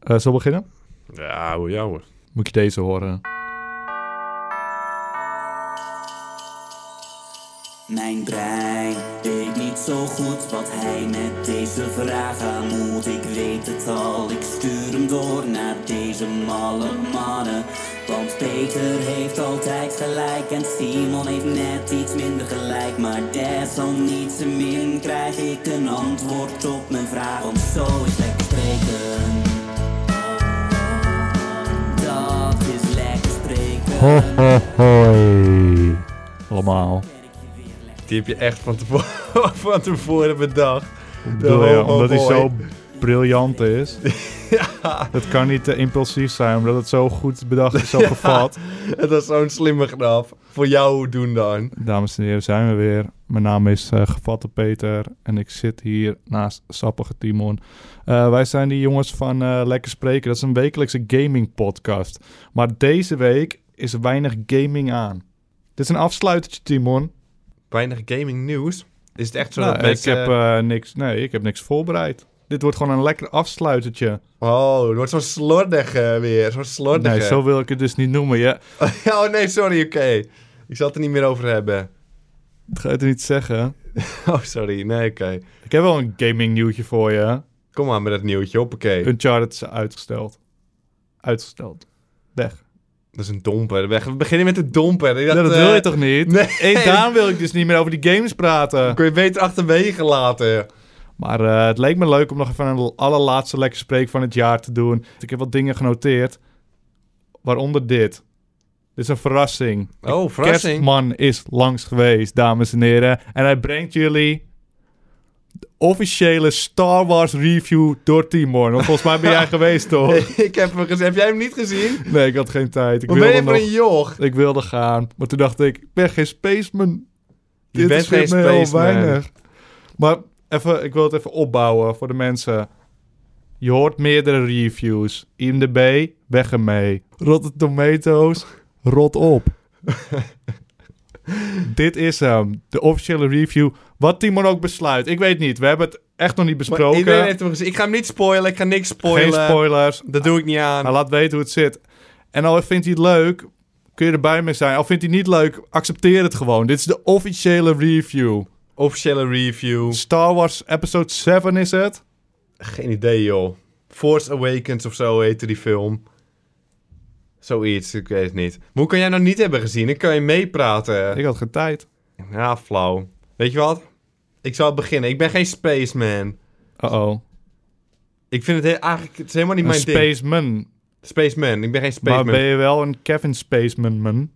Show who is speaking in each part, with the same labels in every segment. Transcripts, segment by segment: Speaker 1: Eh, zullen we beginnen?
Speaker 2: Ja hoor, ja hoor.
Speaker 1: Moet je deze horen?
Speaker 3: Mijn brein weet niet zo goed wat hij met deze vraag aan moet. Ik weet het al, ik stuur hem door naar deze malle mannen. Want Peter heeft altijd gelijk en Simon heeft net iets minder gelijk. Maar desalniettemin krijg ik een antwoord op mijn vraag om zo is lekker spreken. Dat is lekker spreken.
Speaker 1: hoi. Allemaal.
Speaker 2: Die heb je echt van tevoren, van tevoren bedacht. Oh,
Speaker 1: Ik bedoel, ja,
Speaker 2: ho, ho,
Speaker 1: omdat hij
Speaker 2: hoi.
Speaker 1: zo briljant is. Het kan niet te impulsief zijn, omdat het zo goed bedacht is, zo gevat.
Speaker 2: Het was zo'n slimme grap. Voor jou doen dan.
Speaker 1: Dames en heren, zijn we weer. Mijn naam is eh, Gevatte Peter en ik zit hier naast Sappige Timon. Eh, wij zijn die jongens van eh, Lekker Spreken. Dat is een wekelijkse gaming podcast. Maar deze week is er weinig gaming aan. Dit is een afsluitertje, Timon.
Speaker 2: Weinig gaming nieuws. Is het echt zo
Speaker 1: Nou,
Speaker 2: dat
Speaker 1: ik,
Speaker 2: mensen...
Speaker 1: heb, eh, niks, nee, ik heb niks voorbereid. Dit wordt gewoon een lekker afsluitertje.
Speaker 2: Oh, het wordt zo'n slordig eh, weer. Zo'n slordig. eh.
Speaker 1: Nee, zo wil ik het dus niet noemen. Ja,
Speaker 2: oh nee, sorry, oké. Ik zal het er niet meer over hebben.
Speaker 1: dat ga je het niet zeggen.
Speaker 2: Oh, sorry. Nee, oké.
Speaker 1: Ik heb wel een gaming nieuwtje voor je.
Speaker 2: Kom maar met dat nieuwtje, hoppakee.
Speaker 1: Uncharted is uitgesteld. Uitgesteld. Weg.
Speaker 2: Dat is een domper. We we beginnen met de domper. Ik
Speaker 1: Dat,
Speaker 2: dacht,
Speaker 1: dat wil je
Speaker 2: eh,
Speaker 1: toch niet?
Speaker 2: nee.
Speaker 1: En daarom wil ik dus niet meer over die games praten.
Speaker 2: Kun je beter achterwege laten.
Speaker 1: Maar eh, het leek me leuk om nog even een allerlaatste lekker spreek van het jaar te doen. Ik heb wat dingen genoteerd. Waaronder dit. Dit is een verrassing.
Speaker 2: Oh, verrassing.
Speaker 1: Kerstman is langs geweest, dames en heren. En hij brengt jullie de officiële Star Wars review door Timor. Want volgens mij ben jij geweest, toch?
Speaker 2: ik heb hem gezien. Heb jij hem niet gezien?
Speaker 1: Nee, ik had geen tijd. Ik
Speaker 2: Wat ben
Speaker 1: wilde,
Speaker 2: je voor
Speaker 1: nog,
Speaker 2: een joch?
Speaker 1: ik wilde gaan. Maar toen dacht ik, ik ben geen spaceman.
Speaker 2: Je bent geen
Speaker 1: interesseert me heel
Speaker 2: spaceman.
Speaker 1: Maar even, ik wil het even opbouwen voor de mensen. Je hoort meerdere reviews. IMDb, weg ermee. Rotten Tomatoes, rot op. Dit is hem, de officiële review. Wat Timon ook besluit, ik weet niet. We hebben het echt nog niet
Speaker 2: Maar
Speaker 1: besproken.
Speaker 2: Iedereen heeft hem gezien. Ik ga hem niet spoilen. Ik ga niks spoilen.
Speaker 1: Geen spoilers.
Speaker 2: Dat doe ik niet aan.
Speaker 1: Hij laat weten hoe het zit. En al vindt hij het leuk, kun je erbij mee zijn. Al vindt hij het niet leuk, accepteer het gewoon. Dit is de officiële review.
Speaker 2: Officiële review.
Speaker 1: Star Wars Episode 7 is het.
Speaker 2: Geen idee, joh. Force Awakens of zo heette die film. Zoiets, ik weet het niet. Maar hoe kan jij nou niet hebben gezien? Dan kan je meepraten.
Speaker 1: Ik had geen tijd.
Speaker 2: Ja, flauw. Weet je wat? Ik zal beginnen. Ik ben geen spaceman.
Speaker 1: Uh-oh.
Speaker 2: Ik vind het he- eigenlijk het is helemaal niet
Speaker 1: Een
Speaker 2: mijn ding.
Speaker 1: spaceman.
Speaker 2: Spaceman. Ik ben geen spaceman.
Speaker 1: Maar ben je wel een Kevin Spaceman, man?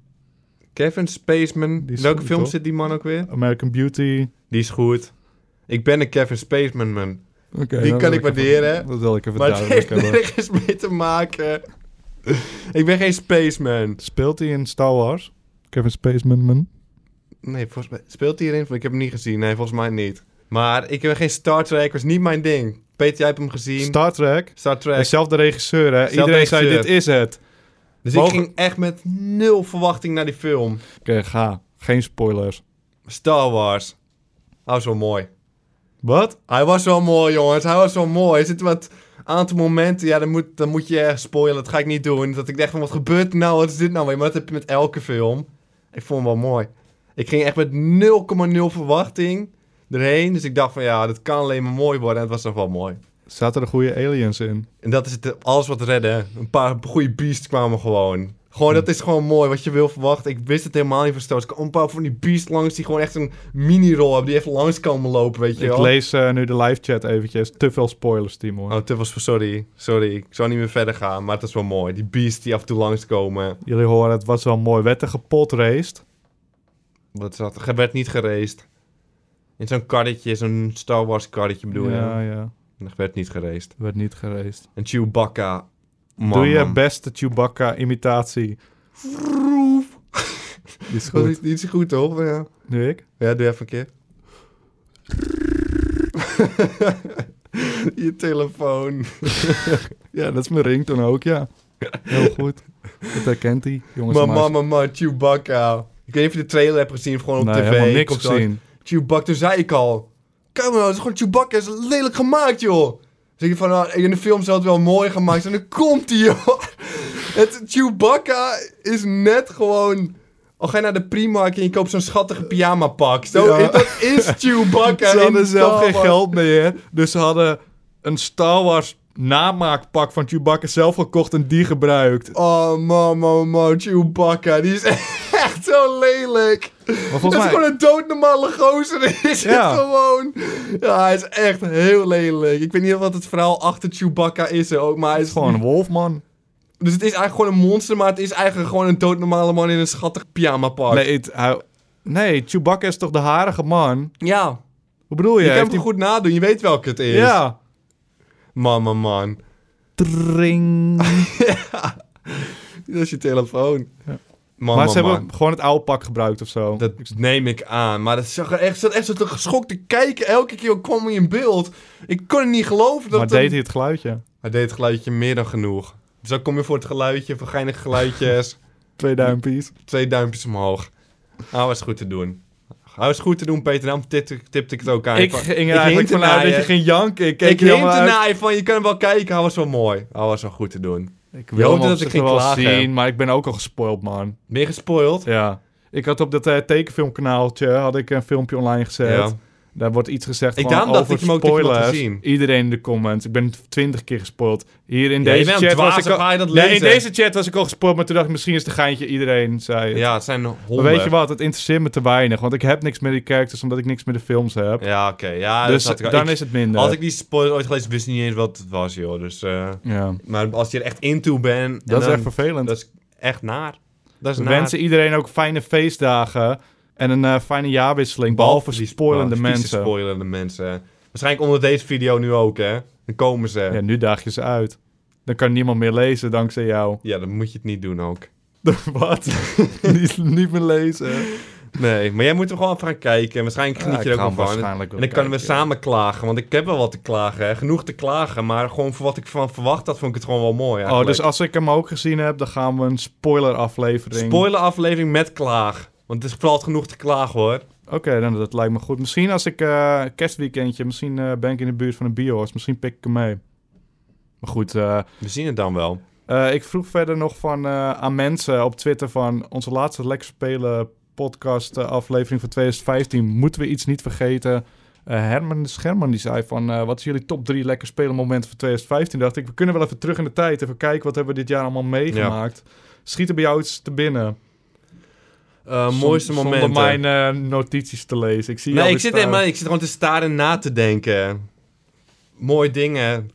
Speaker 2: Kevin Spaceman.
Speaker 1: Die is
Speaker 2: Welke
Speaker 1: goed,
Speaker 2: film
Speaker 1: toch?
Speaker 2: zit die man ook weer?
Speaker 1: American Beauty.
Speaker 2: Die is goed. Ik ben een Kevin Spaceman, man.
Speaker 1: Oké,
Speaker 2: Die
Speaker 1: dat
Speaker 2: kan
Speaker 1: wil even-
Speaker 2: ik waarderen.
Speaker 1: dat wil ik even
Speaker 2: Maar het
Speaker 1: duidelijk
Speaker 2: heeft
Speaker 1: hebben.
Speaker 2: nergens mee te maken. ik ben geen spaceman.
Speaker 1: Speelt hij in Star Wars? Kevin Spaceman, man?
Speaker 2: Nee, volgens mij... Speelt hij erin? Ik heb hem niet gezien. Nee, volgens mij niet. Maar ik ben geen Star Trek. was niet mijn ding. Peter, jij hebt hem gezien.
Speaker 1: Star Trek.
Speaker 2: Star Trek.
Speaker 1: Dezelfde regisseur, hè?
Speaker 2: Zelfde
Speaker 1: Iedereen zei,
Speaker 2: regisseur.
Speaker 1: dit is het.
Speaker 2: Dus
Speaker 1: Mogen-
Speaker 2: ik ging echt met nul verwachting naar die film.
Speaker 1: Oké, ga. Geen spoilers.
Speaker 2: Star Wars. Hij was wel mooi.
Speaker 1: Wat?
Speaker 2: Hij was wel mooi, jongens. Hij was wel mooi. Er zitten wat aantal momenten. Ja, dan moet, dan moet je echt spoilen. Dat ga ik niet doen. Dat ik dacht van, wat gebeurt er nou? Wat is dit nou weer? Maar dat heb je met elke film. Ik vond hem wel mooi. Ik ging echt met 0,0 verwachting erheen. Dus ik dacht van, ja, dat kan alleen maar mooi worden. En het was nog wel mooi.
Speaker 1: Zaten er goede aliens in?
Speaker 2: En dat is het, alles wat redden. Een paar goede beasts kwamen gewoon. Gewoon,
Speaker 1: Hm.
Speaker 2: dat is gewoon mooi, wat je wil verwachten. Ik wist het helemaal niet van Star Wars. Er kwamen een paar van die beasts langs die gewoon echt een mini-rol hebben. Die even langs komen lopen, weet je
Speaker 1: Ik
Speaker 2: wel.
Speaker 1: lees eh, nu de live chat eventjes. Te veel spoilers, Timon.
Speaker 2: Oh, te veel, sp- sorry. Sorry, ik zou niet meer verder gaan, maar het is wel mooi. Die beasts die af en toe langskomen.
Speaker 1: Jullie horen, het was wel mooi. Werd er gepot raced?
Speaker 2: Wat zat er? werd niet geraced. In zo'n karretje, zo'n Star Wars karretje bedoel je?
Speaker 1: Ja, ja.
Speaker 2: Er werd niet geraced.
Speaker 1: Werd niet geraced.
Speaker 2: En Chewbacca. Man,
Speaker 1: Doe je
Speaker 2: man.
Speaker 1: beste Chewbacca-imitatie. Die is
Speaker 2: Dat
Speaker 1: goed.
Speaker 2: is niet zo goed, toch? Ja,
Speaker 1: Nu ik?
Speaker 2: ja doe even een keer. je telefoon.
Speaker 1: Ja, dat is mijn ringtone ook, ja. Heel goed. Dat herkent hij. Jongens,
Speaker 2: Maar
Speaker 1: en meisjes.
Speaker 2: mama, man, Chewbacca. Ik weet niet of je de trailer hebt gezien of gewoon op
Speaker 1: nee,
Speaker 2: tv.
Speaker 1: helemaal niks
Speaker 2: of zo.
Speaker 1: gezien.
Speaker 2: Chewbacca, toen zei ik al. Kijk maar nou, het is gewoon Chewbacca, het is lelijk gemaakt, joh. Dus ik van, ah, in de film zou het wel mooi gemaakt zijn. En dan komt hij, joh. Het Chewbacca is net gewoon... Al ga je naar de Primark en je koopt zo'n schattige pyjama pak. Zo,
Speaker 1: Ja.
Speaker 2: Dat is Chewbacca
Speaker 1: Ze
Speaker 2: in
Speaker 1: hadden zelf
Speaker 2: Star
Speaker 1: geen
Speaker 2: Wars.
Speaker 1: geld meer. Dus ze hadden een Star Wars namaakpak van Chewbacca zelf gekocht en die gebruikt.
Speaker 2: Oh, man, man, man, Chewbacca. Die is echt zo lelijk.
Speaker 1: Maar
Speaker 2: Het
Speaker 1: volgens
Speaker 2: is
Speaker 1: mij...
Speaker 2: gewoon een doodnormale gozer. Die is
Speaker 1: Ja.
Speaker 2: het gewoon... Ja, hij is echt heel lelijk. Ik weet niet wat het verhaal achter Chewbacca is ook, maar hij is...
Speaker 1: Gewoon een wolf, man.
Speaker 2: Dus het is eigenlijk gewoon een monster, maar het is eigenlijk gewoon een doodnormale man in een schattig pyjama pak.
Speaker 1: Nee, het- hij- nee, Chewbacca is toch de harige man?
Speaker 2: Ja,
Speaker 1: Wat bedoel je?
Speaker 2: je kan
Speaker 1: Heeft
Speaker 2: hem goed nadoen. Je weet welke het is.
Speaker 1: die- Ja.
Speaker 2: Man, man, man.
Speaker 1: Tring.
Speaker 2: Dat is je telefoon. Man,
Speaker 1: maar
Speaker 2: man,
Speaker 1: ze hebben
Speaker 2: man.
Speaker 1: gewoon het oude pak gebruikt of zo.
Speaker 2: Dat neem ik aan. Maar dat zag er echt, zat echt zo te geschokt te kijken. Elke keer kwam hij in beeld. Ik kon het niet geloven. Dat
Speaker 1: maar
Speaker 2: dat-
Speaker 1: deed hij het geluidje?
Speaker 2: Hij deed het geluidje meer dan genoeg. Dus dan kom je voor het geluidje, voor geinige geluidjes.
Speaker 1: Twee duimpjes.
Speaker 2: twee duimpjes omhoog. Hij was goed te doen. Hij was goed te doen, Peter. Daarom tipte, tipte ik het ook aan.
Speaker 1: Ik ging er eigenlijk
Speaker 2: hint ernaar,
Speaker 1: vanuit dat
Speaker 2: hè.
Speaker 1: je ging janken. Ik keek
Speaker 2: Ik
Speaker 1: er
Speaker 2: neem
Speaker 1: helemaal uit.
Speaker 2: ernaar je van, je kan hem wel kijken. Hij was wel mooi. Hij was wel goed te doen.
Speaker 1: Ik
Speaker 2: Je
Speaker 1: wil hem op
Speaker 2: hoopte dat ik
Speaker 1: zich
Speaker 2: ging
Speaker 1: wel
Speaker 2: klagen.
Speaker 1: zien, maar ik ben ook al gespoild, man.
Speaker 2: Ben je gespoild?
Speaker 1: Ja. Ik had op dat eh, tekenfilmkanaaltje had ik een filmpje online gezet.
Speaker 2: Ja.
Speaker 1: Daar wordt iets gezegd
Speaker 2: Ik
Speaker 1: gewoon
Speaker 2: daarom dacht
Speaker 1: over
Speaker 2: ik hem ook dat ik hem had
Speaker 1: spoilers.
Speaker 2: gezien.
Speaker 1: Iedereen in de comments. Ik ben twintig keer gespoild. Hier in
Speaker 2: Ja, je
Speaker 1: deze
Speaker 2: bent
Speaker 1: chat
Speaker 2: dwaas,
Speaker 1: was ik
Speaker 2: dan
Speaker 1: al...
Speaker 2: ga je dat
Speaker 1: Nee, in
Speaker 2: lezen.
Speaker 1: deze chat was ik al gespoild, maar toen dacht ik misschien is het een geintje. Iedereen zei het.
Speaker 2: Ja, het zijn
Speaker 1: Maar
Speaker 2: honden.
Speaker 1: weet je wat, het interesseert me te weinig. Want ik heb niks met die characters, omdat ik niks met de films heb.
Speaker 2: Ja, oké. Ja,
Speaker 1: dus
Speaker 2: dat had ik,
Speaker 1: dan
Speaker 2: ik-
Speaker 1: is het minder.
Speaker 2: Had ik die spoiler ooit gelezen, wist ik niet eens wat het was, joh. Dus, eh,
Speaker 1: Ja.
Speaker 2: maar als je er echt into bent... en
Speaker 1: Dat is
Speaker 2: dan-
Speaker 1: echt vervelend.
Speaker 2: Dat is echt naar. Dat is
Speaker 1: We
Speaker 2: naar.
Speaker 1: wensen iedereen ook fijne feestdagen en een eh, fijne jaarwisseling. Behalve die spoilende
Speaker 2: vieze
Speaker 1: mensen.
Speaker 2: spoilende mensen. Waarschijnlijk onder deze video nu ook, hè. Dan komen ze.
Speaker 1: Ja,
Speaker 2: Ja,
Speaker 1: nu daag je ze uit. Dan kan niemand meer lezen dankzij jou.
Speaker 2: dan moet je het niet doen ook.
Speaker 1: Wat? niet, niet meer lezen.
Speaker 2: Nee, maar jij moet er gewoon even gaan kijken. Waarschijnlijk
Speaker 1: Ja,
Speaker 2: geniet
Speaker 1: ik
Speaker 2: je er
Speaker 1: ga
Speaker 2: ook
Speaker 1: hem
Speaker 2: wel van.
Speaker 1: waarschijnlijk wel
Speaker 2: en dan kunnen we
Speaker 1: kijken, ja.
Speaker 2: samen klagen. Want ik heb wel wat te klagen, hè. Genoeg te klagen. Maar gewoon voor wat ik van verwacht had, vond ik het gewoon wel mooi
Speaker 1: Oh,
Speaker 2: eigenlijk.
Speaker 1: dus als ik hem ook gezien heb, dan gaan we een spoiler aflevering.
Speaker 2: Spoiler aflevering met klaag. Want het is vooral genoeg te klagen, hoor.
Speaker 1: Oké, dan dat lijkt me goed. Misschien als ik eh, kerstweekendje, misschien eh, ben ik in de buurt van een bio's. Misschien pik ik hem mee. Maar goed, eh,
Speaker 2: We zien het dan wel.
Speaker 1: Eh, ik vroeg verder nog van, eh, aan mensen op Twitter van onze laatste Lekker Spelen podcast eh, aflevering van 2015. Moeten we iets niet vergeten? Eh, Herman Scherman die zei van, eh, wat is jullie top drie Lekker Spelen momenten van 2015? Dacht ik, we kunnen wel even terug in de tijd. Even kijken, wat hebben we dit jaar allemaal meegemaakt? Schiet er bij jou iets te binnen?
Speaker 2: Eh,
Speaker 1: Zon-
Speaker 2: mooiste momenten.
Speaker 1: Zonder mijn eh, notities te lezen. Ik zie jou
Speaker 2: Nee, ik
Speaker 1: weer
Speaker 2: zit,
Speaker 1: staan.
Speaker 2: helemaal, ik zit gewoon te staren na te denken. Mooie dingen.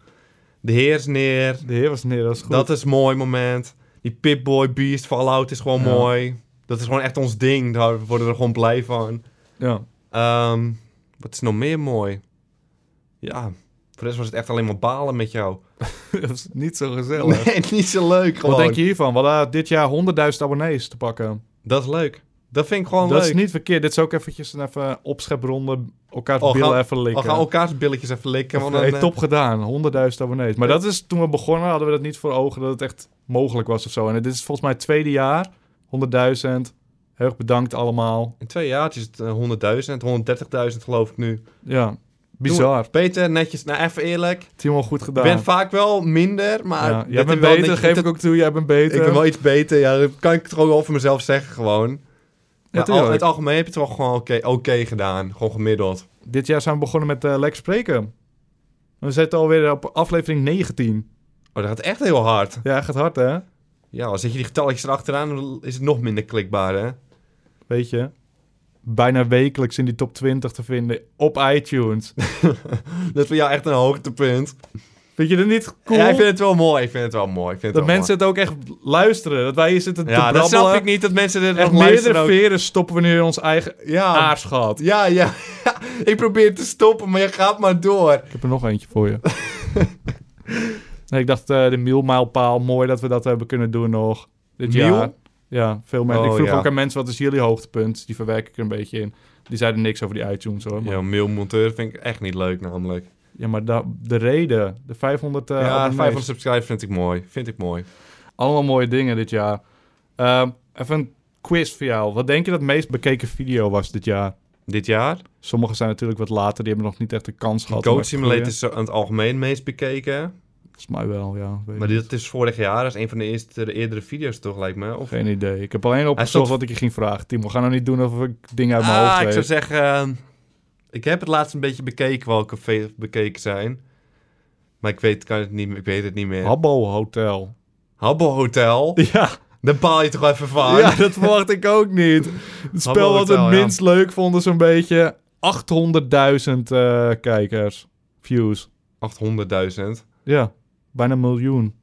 Speaker 2: De heer is neer.
Speaker 1: De heer was neer, dat is goed.
Speaker 2: Dat is een mooi moment. Die Pip-Boy Beast Fallout is gewoon
Speaker 1: Ja.
Speaker 2: mooi. Dat is gewoon echt ons ding. Daar worden we er gewoon blij van.
Speaker 1: Ja.
Speaker 2: Ehm, wat is nog meer mooi? Ja, voor de rest was het echt alleen maar balen met jou.
Speaker 1: dat is niet zo gezellig.
Speaker 2: Nee, niet zo leuk gewoon.
Speaker 1: Wat denk je hiervan? We hadden dit jaar 100.000 abonnees te pakken.
Speaker 2: Dat is leuk. Dat vind ik gewoon
Speaker 1: Dat
Speaker 2: Oh, leuk.
Speaker 1: is niet verkeerd. Dit is ook eventjes een even opschepronde. Elkaars
Speaker 2: Oh,
Speaker 1: billen
Speaker 2: gaan-
Speaker 1: even
Speaker 2: We
Speaker 1: likken.
Speaker 2: gaan elkaars billetjes even likken. Want dan,
Speaker 1: Nee,
Speaker 2: eh,
Speaker 1: top gedaan. 100.000 abonnees. Maar dat is, toen we begonnen hadden we dat niet voor ogen dat het echt mogelijk was of zo. En dit is volgens mij het tweede jaar. 100.000. Heel erg bedankt allemaal.
Speaker 2: In twee jaartjes het, eh, 100.000, 130.000 geloof ik nu.
Speaker 1: Ja, bizar.
Speaker 2: Peter, netjes, nou even eerlijk.
Speaker 1: Timo, goed
Speaker 2: Ik
Speaker 1: gedaan.
Speaker 2: ben vaak wel minder, maar...
Speaker 1: ja,
Speaker 2: dit
Speaker 1: jij bent
Speaker 2: is wel
Speaker 1: beter,
Speaker 2: netjes-
Speaker 1: geef
Speaker 2: dit-
Speaker 1: ik ook toe. Jij bent beter.
Speaker 2: Ik ben wel iets beter, ja. Dat kan ik toch ook wel voor mezelf zeggen, gewoon. Maar al,
Speaker 1: tuurlijk.
Speaker 2: in het algemeen heb je het toch gewoon oké oké gedaan. Gewoon gemiddeld.
Speaker 1: Dit jaar zijn we begonnen met eh Lex Spreken. We zitten alweer op aflevering 19.
Speaker 2: Oh, dat gaat echt heel hard.
Speaker 1: Ja, gaat hard hè?
Speaker 2: Ja, als zet je die getalletjes erachteraan, dan is het nog minder klikbaar, hè?
Speaker 1: weet je, bijna wekelijks in die top 20 te vinden op iTunes.
Speaker 2: Dat is voor jou echt een hoogtepunt.
Speaker 1: Vind je dat niet cool?
Speaker 2: Ja, ik vind het wel mooi. Ik vind het wel mooi. Ik vind het
Speaker 1: dat
Speaker 2: wel
Speaker 1: mensen het ook echt luisteren. Dat wij hier zitten te
Speaker 2: mooi. Ja,
Speaker 1: brabbelen.
Speaker 2: dat snap ik niet, dat mensen dit
Speaker 1: Echt
Speaker 2: nog luisteren
Speaker 1: meerdere
Speaker 2: ook. Nou.
Speaker 1: veren stoppen we nu in ons eigen
Speaker 2: Ja,
Speaker 1: aarschat.
Speaker 2: ja, ja. ik probeer te stoppen, maar je gaat maar door.
Speaker 1: Ik heb er nog eentje voor je. nee, ik dacht eh, de mielmijlpaal. Mooi dat we dat hebben kunnen doen nog. Dit
Speaker 2: Miel?
Speaker 1: jaar. Ja, veel mensen.
Speaker 2: Oh,
Speaker 1: ik vroeg
Speaker 2: ja.
Speaker 1: ook aan mensen, wat is jullie hoogtepunt? Die verwerk ik er een beetje in. Die zeiden niks over die iTunes hoor. Maar-
Speaker 2: Ja, mailmonteur vind ik echt niet leuk, namelijk.
Speaker 1: ja, maar da- de reden. De 500... eh
Speaker 2: ja,
Speaker 1: abonnees.
Speaker 2: 500 subscribers vind ik mooi. Vind ik mooi.
Speaker 1: Allemaal mooie dingen dit jaar. Ehm, even een quiz voor jou. Wat denk je dat meest bekeken video was dit jaar?
Speaker 2: Dit jaar?
Speaker 1: Sommige zijn natuurlijk wat later, die hebben nog niet echt de kans gehad. om
Speaker 2: Goat
Speaker 1: echt te
Speaker 2: Simulator
Speaker 1: groeien.
Speaker 2: is zo aan het algemeen meest bekeken.
Speaker 1: Volgens mij wel, ja. Weet
Speaker 2: Maar
Speaker 1: niet.
Speaker 2: dit is vorig jaar, dat is een van de eerste de eerdere video's toch, lijkt me. Of...
Speaker 1: Geen idee. Ik heb alleen opgezocht
Speaker 2: stond-
Speaker 1: wat ik je ging vragen. Timo, we gaan nou niet doen of ik dingen uit mijn
Speaker 2: Ah,
Speaker 1: hoofd
Speaker 2: ik
Speaker 1: weet.
Speaker 2: zou zeggen... Ik heb het laatst een beetje bekeken welke veel bekeken zijn. Maar ik weet, kan het niet, meer- ik weet het niet meer.
Speaker 1: Habbo Hotel.
Speaker 2: Habbo Hotel.
Speaker 1: Ja,
Speaker 2: Daar baal je toch even van?
Speaker 1: Ah, ja, dat verwacht ik ook niet. Het spel
Speaker 2: Habbo
Speaker 1: wat we het
Speaker 2: Hotel, ja.
Speaker 1: minst leuk vonden, zo'n beetje 800.000 eh, kijkers. Views.
Speaker 2: 800.000.
Speaker 1: Ja, bijna een miljoen.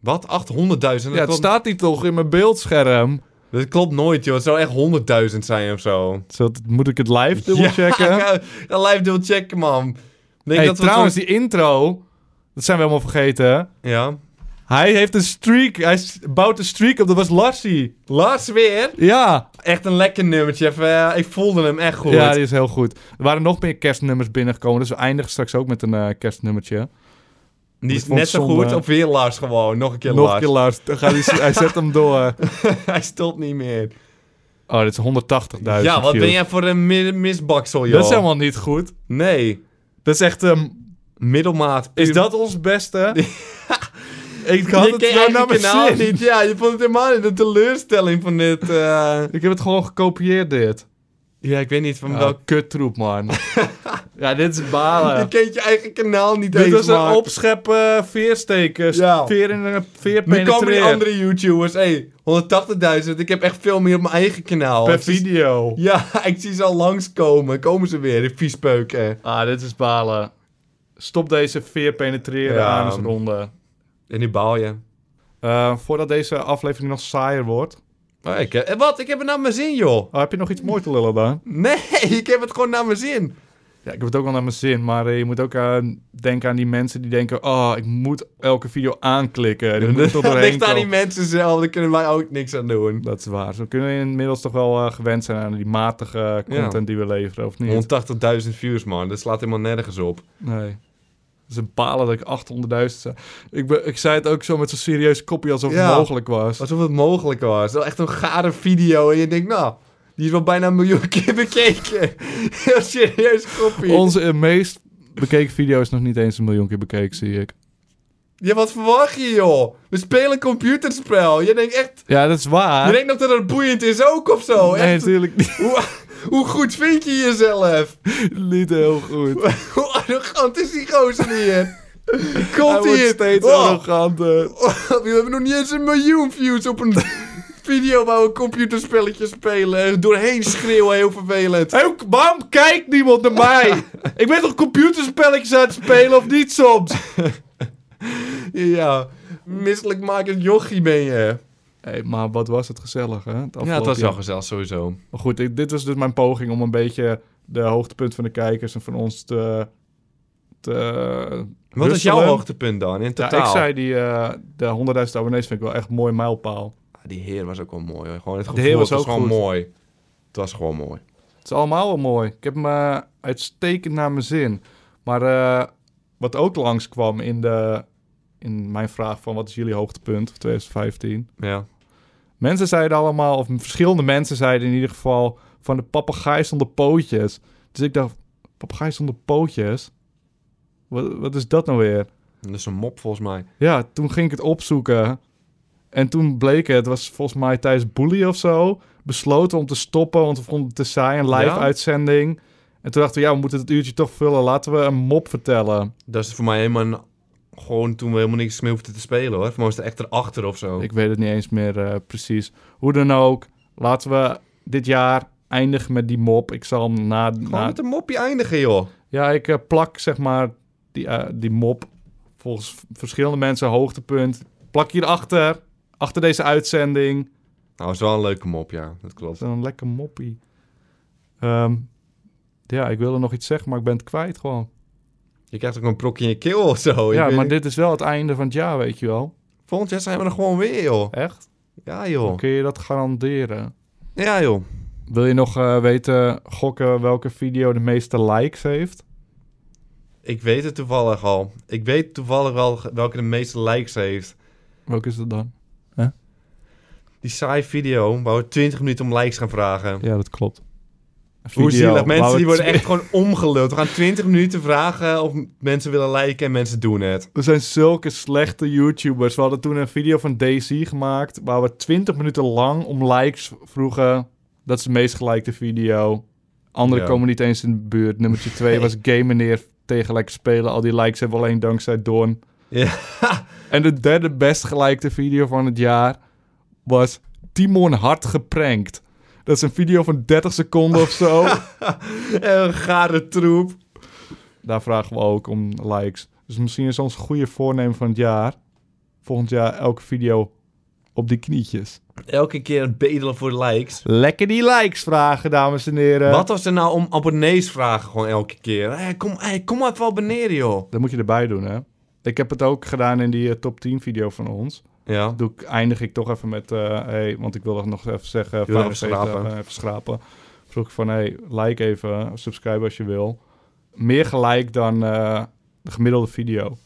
Speaker 2: Wat? 800.000? Dat,
Speaker 1: Ja, het
Speaker 2: klopt-
Speaker 1: staat hier toch in mijn beeldscherm.
Speaker 2: dat klopt nooit, joh. Het zou echt 100.000 zijn of zo.
Speaker 1: Zodat, moet ik het live dubbelchecken?
Speaker 2: Ja, ja, live dubbel checken, man. Ik Denk
Speaker 1: hey,
Speaker 2: dat we
Speaker 1: trouwens,
Speaker 2: zo'n-
Speaker 1: die intro, dat zijn we helemaal vergeten.
Speaker 2: Ja.
Speaker 1: Hij heeft een streak, hij s- bouwt een streak op, dat was Lassie.
Speaker 2: Lars weer.
Speaker 1: Ja,
Speaker 2: Echt een lekker nummertje. Even, eh, ik voelde hem echt goed.
Speaker 1: ja, die is heel goed. Er waren nog meer kerstnummers binnengekomen, dus we eindigen straks ook met een eh, kerstnummertje.
Speaker 2: die
Speaker 1: ik
Speaker 2: is
Speaker 1: vond
Speaker 2: net zo
Speaker 1: zonde-
Speaker 2: goed. Of weer Lars gewoon. Nog een keer
Speaker 1: nog een
Speaker 2: Lars.
Speaker 1: keer Lars, Dan gaat hij, hij zet hem door.
Speaker 2: Hij stopt niet meer.
Speaker 1: Oh, dit is 180.000
Speaker 2: ja, wat
Speaker 1: views.
Speaker 2: ben jij voor een mi- misbaksel, joh.
Speaker 1: Dat is helemaal niet goed.
Speaker 2: Nee.
Speaker 1: Dat is echt, ehm,
Speaker 2: Middelmaat.
Speaker 1: is dat ons beste? ik had
Speaker 2: je
Speaker 1: het
Speaker 2: kent
Speaker 1: zo naar
Speaker 2: eigenlijk
Speaker 1: mijn
Speaker 2: je kanaal
Speaker 1: zin.
Speaker 2: niet. Ja, je vond het helemaal niet. De teleurstelling van dit... eh,
Speaker 1: Ik heb het gewoon gekopieerd, dit.
Speaker 2: Ja, ik weet niet van
Speaker 1: Ja,
Speaker 2: welk...
Speaker 1: kuttroep, man. ja, dit is balen.
Speaker 2: Je kent je eigen kanaal niet
Speaker 1: Dit
Speaker 2: eens,
Speaker 1: was een
Speaker 2: maar-
Speaker 1: opscheppen eh, veersteken.
Speaker 2: Ja.
Speaker 1: Veer in een veer
Speaker 2: Nu komen die
Speaker 1: penetreer.
Speaker 2: andere YouTubers. Hé, 180.000. Ik heb echt veel meer op mijn eigen kanaal.
Speaker 1: Per
Speaker 2: Ik zie-
Speaker 1: video.
Speaker 2: Ja, ik zie ze al langskomen. Komen ze weer, die viespeuken.
Speaker 1: Ah, dit is balen. Stop deze veer penetreren
Speaker 2: Ja.
Speaker 1: aan ronde.
Speaker 2: En nu baal je.
Speaker 1: Eh, voordat deze aflevering nog saaier wordt.
Speaker 2: Maar ik, eh, wat? Ik heb het naar mijn zin, joh.
Speaker 1: Oh, heb je nog iets moois te lullen dan?
Speaker 2: Nee, ik heb het gewoon naar mijn zin.
Speaker 1: Ja, ik heb het ook wel naar mijn zin. Maar eh, je moet ook eh, denken aan die mensen die denken... Oh, ik moet elke video aanklikken. Die moet er
Speaker 2: Dat
Speaker 1: tot doorheen
Speaker 2: ligt aan die
Speaker 1: komen.
Speaker 2: mensen zelf. Daar kunnen wij ook niks aan doen.
Speaker 1: Dat is waar. Zo kunnen we inmiddels toch wel eh, gewend zijn aan die matige content die we leveren, of niet?
Speaker 2: 180.000 views, man. Dat slaat helemaal nergens op.
Speaker 1: Nee. Ze balen dat ik 800.000 zei. Ik, be- ik zei het ook zo met zo'n serieus kopje alsof het
Speaker 2: Ja.
Speaker 1: mogelijk was.
Speaker 2: Alsof het mogelijk was. Dat is echt een gare video. En je denkt, nou, die is wel bijna een miljoen keer bekeken. Heel serieus kopie.
Speaker 1: Onze eh, meest bekeken video is nog niet eens een miljoen keer bekeken, zie ik.
Speaker 2: Ja, wat verwacht je, joh? We spelen een computerspel. Je denkt echt...
Speaker 1: Ja, dat is
Speaker 2: Je
Speaker 1: waar.
Speaker 2: denkt nog dat het boeiend is ook of zo.
Speaker 1: nee,
Speaker 2: oh, Echt,
Speaker 1: natuurlijk niet,
Speaker 2: hoe, hoe goed vind je jezelf?
Speaker 1: niet heel goed.
Speaker 2: Hoe arrogant is die gozer hier?
Speaker 1: Hij
Speaker 2: Komt
Speaker 1: wordt
Speaker 2: hij hier?
Speaker 1: steeds
Speaker 2: Oh,
Speaker 1: arroganter.
Speaker 2: oh, we hebben nog niet eens een miljoen views op een video waar we computerspelletjes spelen. En Doorheen schreeuwen, heel vervelend.
Speaker 1: Hey, k- waarom kijkt niemand naar mij? ik ben toch computerspelletjes aan het spelen of niet soms?
Speaker 2: Ja, misselijkmakend jochie ben je.
Speaker 1: Hey, maar wat was het gezellig, hè?
Speaker 2: Ja, het was
Speaker 1: afgelopen
Speaker 2: wel gezellig, sowieso.
Speaker 1: Maar goed, ik- dit was dus mijn poging om een beetje de hoogtepunt van de kijkers en van ons te. te
Speaker 2: Wat is
Speaker 1: rustelen.
Speaker 2: jouw hoogtepunt dan, in
Speaker 1: Ja,
Speaker 2: totaal?
Speaker 1: ik zei die, eh, de 100.000 abonnees vind ik wel echt een mooi mijlpaal.
Speaker 2: Ah, Die heer was ook wel mooi. Hoor. Gewoon het
Speaker 1: De
Speaker 2: gevoel,
Speaker 1: heer was
Speaker 2: het was
Speaker 1: ook
Speaker 2: gewoon
Speaker 1: goed.
Speaker 2: mooi. Het was gewoon mooi.
Speaker 1: Het is allemaal wel mooi. Ik heb me uitstekend naar mijn zin. Maar eh, wat ook langskwam in, de, in mijn vraag van wat is jullie hoogtepunt van 2015?
Speaker 2: Ja.
Speaker 1: Mensen zeiden allemaal, of verschillende mensen zeiden in ieder geval, van de papegaai zonder pootjes. Dus ik dacht, papegaai zonder pootjes? Wat, wat is dat nou weer?
Speaker 2: Dat is een mop volgens mij.
Speaker 1: Ja, toen ging ik het opzoeken. En toen bleek het, het was volgens mij tijdens Bully of zo, besloten om te stoppen, want we vonden het te saai, een live
Speaker 2: Ja?
Speaker 1: uitzending. En toen dachten we, ja, we moeten het uurtje toch vullen, laten we een mop vertellen.
Speaker 2: Dat is voor mij helemaal een- gewoon toen we helemaal niks meer hoefden te spelen hoor. Voor mij was het echt erachter of zo.
Speaker 1: Ik weet het niet eens meer eh, precies. Hoe dan ook, laten we dit jaar eindigen met die mop. Ik zal hem na...
Speaker 2: Gewoon
Speaker 1: na
Speaker 2: met een mopje eindigen joh.
Speaker 1: Ja, ik eh, plak zeg maar die, eh, die mop volgens v- verschillende mensen hoogtepunt. Plak hierachter, achter deze uitzending.
Speaker 2: Nou, is wel een leuke mop ja. Dat klopt.
Speaker 1: Dat is een lekker moppie. Ehm, ja, ik wilde nog iets zeggen, maar ik ben het kwijt gewoon.
Speaker 2: Je krijgt ook een brokje in je keel of zo. Oh, Ik
Speaker 1: ja,
Speaker 2: weet
Speaker 1: maar
Speaker 2: niet.
Speaker 1: dit is wel het einde van het jaar, weet je wel.
Speaker 2: Volgend jaar zijn we er gewoon weer joh.
Speaker 1: Echt?
Speaker 2: Ja joh.
Speaker 1: Kun je dat garanderen?
Speaker 2: Ja joh.
Speaker 1: Wil je nog eh, weten, gokken welke video de meeste likes heeft?
Speaker 2: Ik weet het toevallig al. Ik weet toevallig wel ge- welke de meeste likes heeft.
Speaker 1: Welke is dat dan?
Speaker 2: Die saai video waar we 20 minuten om likes gaan vragen.
Speaker 1: Ja, dat klopt.
Speaker 2: Hoe
Speaker 1: video
Speaker 2: zielig.
Speaker 1: waar we
Speaker 2: Mensen die worden
Speaker 1: twi-
Speaker 2: echt gewoon omgeluld. We gaan 20 minuten vragen of mensen willen liken en mensen doen het.
Speaker 1: Er zijn zulke slechte YouTubers. We hadden toen een video van Daisy gemaakt... waar we 20 minuten lang om likes vroegen. Dat is de meest gelikte video. Anderen
Speaker 2: Ja.
Speaker 1: komen niet eens in de buurt. Nummertje 2 was Game Meneer tegen Lekker Spelen. Al die likes hebben we alleen dankzij Don.
Speaker 2: Ja.
Speaker 1: En de derde best gelikte video van het jaar... was Timon hard geprankt. Dat is een video van 30 seconden of zo.
Speaker 2: Een gare troep.
Speaker 1: Daar vragen we ook om likes. Dus misschien is ons goede voornemen van het jaar... volgend jaar elke video op die knietjes.
Speaker 2: Elke keer een bedelen voor likes.
Speaker 1: Lekker die likes vragen, dames en heren.
Speaker 2: Wat als ze nou om abonnees vragen gewoon elke keer? Hé, kom, hé, kom even abonneren, joh.
Speaker 1: Dat moet je erbij doen, hè? Ik heb het ook gedaan in die eh, top 10 video van ons.
Speaker 2: Ja.
Speaker 1: Doe ik, eindig ik toch even met... eh, hey, want ik wil nog even zeggen...
Speaker 2: wil
Speaker 1: fijne
Speaker 2: even
Speaker 1: feestdagen,
Speaker 2: schrapen.
Speaker 1: even schrapen. Vroeg ik van, hey, like even. Subscribe als je wil. Meer gelijk dan eh, de gemiddelde video.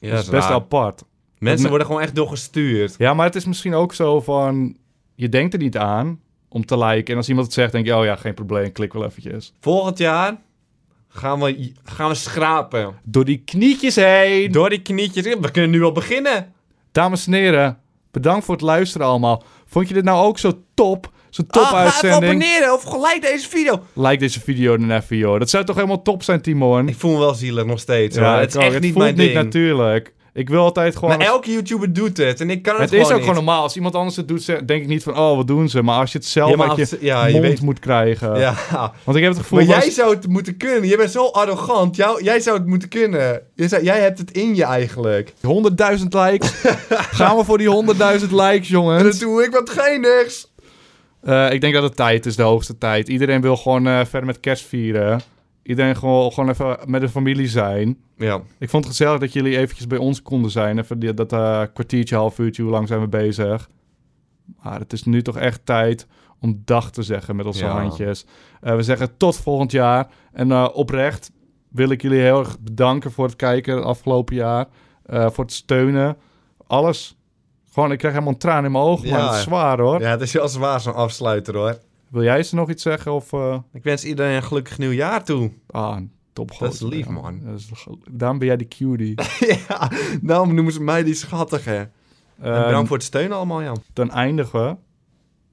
Speaker 2: ja
Speaker 1: dat
Speaker 2: dat
Speaker 1: is
Speaker 2: is
Speaker 1: best
Speaker 2: raar.
Speaker 1: apart.
Speaker 2: Mensen worden gewoon echt doorgestuurd.
Speaker 1: Ja, maar het is misschien ook zo van... Je denkt er niet aan om te liken. En als iemand het zegt, denk je... Oh ja, geen probleem, klik wel eventjes.
Speaker 2: Volgend jaar gaan we, gaan we schrapen.
Speaker 1: Door die knietjes heen.
Speaker 2: Door die knietjes. We kunnen nu al beginnen.
Speaker 1: Dames en heren, bedankt voor het luisteren allemaal. Vond je dit nou ook zo top? Zo'n top
Speaker 2: Ah, ga even
Speaker 1: uitzending?
Speaker 2: abonneren of gelijk deze video.
Speaker 1: Like deze video dan even, joh. Dat zou toch helemaal top zijn, Timon?
Speaker 2: Ik voel me wel zielig nog steeds. hoor. het
Speaker 1: ik
Speaker 2: is
Speaker 1: ook.
Speaker 2: echt
Speaker 1: het
Speaker 2: niet
Speaker 1: voelt
Speaker 2: mijn
Speaker 1: niet
Speaker 2: ding.
Speaker 1: natuurlijk. Ik wil altijd gewoon...
Speaker 2: maar elke YouTuber doet het en ik kan het,
Speaker 1: het is ook
Speaker 2: gewoon
Speaker 1: gewoon
Speaker 2: niet.
Speaker 1: normaal. Als iemand anders het doet, zeg- denk ik niet van... Oh, wat doen ze? Maar als je het zelf
Speaker 2: Ja, maar
Speaker 1: uit
Speaker 2: als-
Speaker 1: je
Speaker 2: ja, je
Speaker 1: mond
Speaker 2: weet-
Speaker 1: moet krijgen.
Speaker 2: Ja,
Speaker 1: Want ik heb het gevoel...
Speaker 2: maar
Speaker 1: van
Speaker 2: jij
Speaker 1: als-
Speaker 2: zou het moeten kunnen. Jij bent zo arrogant. Jou, jij zou het moeten kunnen. Jij, zou- jij hebt het in je eigenlijk.
Speaker 1: 100.000 likes. Gaan we voor die 100.000 likes,
Speaker 2: En
Speaker 1: jongens.
Speaker 2: dan doe ik wat geinigs.
Speaker 1: Eh, ik denk dat het tijd is, de hoogste tijd. Iedereen wil gewoon eh, verder met kerst vieren. Iedereen gewoon, gewoon even met de familie zijn.
Speaker 2: Ja.
Speaker 1: Ik vond het gezellig dat jullie eventjes bij ons konden zijn. Even die- dat eh, kwartiertje, half uurtje, hoe lang zijn we bezig. Maar het is nu toch echt tijd om dag te zeggen met onze
Speaker 2: Ja.
Speaker 1: handjes. Eh, we zeggen tot volgend jaar. En eh, oprecht wil ik jullie heel erg bedanken voor het kijken het afgelopen jaar. Eh, voor het steunen. Alles. Gewoon, ik krijg helemaal een traan in mijn ogen.
Speaker 2: Ja.
Speaker 1: Maar het is zwaar hoor.
Speaker 2: Ja, het is wel zwaar zo'n afsluiter hoor.
Speaker 1: Wil jij ze nog iets zeggen? Of, eh,
Speaker 2: Ik wens iedereen een gelukkig nieuwjaar toe.
Speaker 1: Ah, een topgozer.
Speaker 2: Dat is lief,
Speaker 1: ja.
Speaker 2: man.
Speaker 1: Dat is ge- Daarom ben jij de cutie.
Speaker 2: ja, daarom noemen ze mij die schattige. En
Speaker 1: Ehm,
Speaker 2: Eh, bedankt voor het steunen allemaal, Jan.
Speaker 1: Dan eindigen we,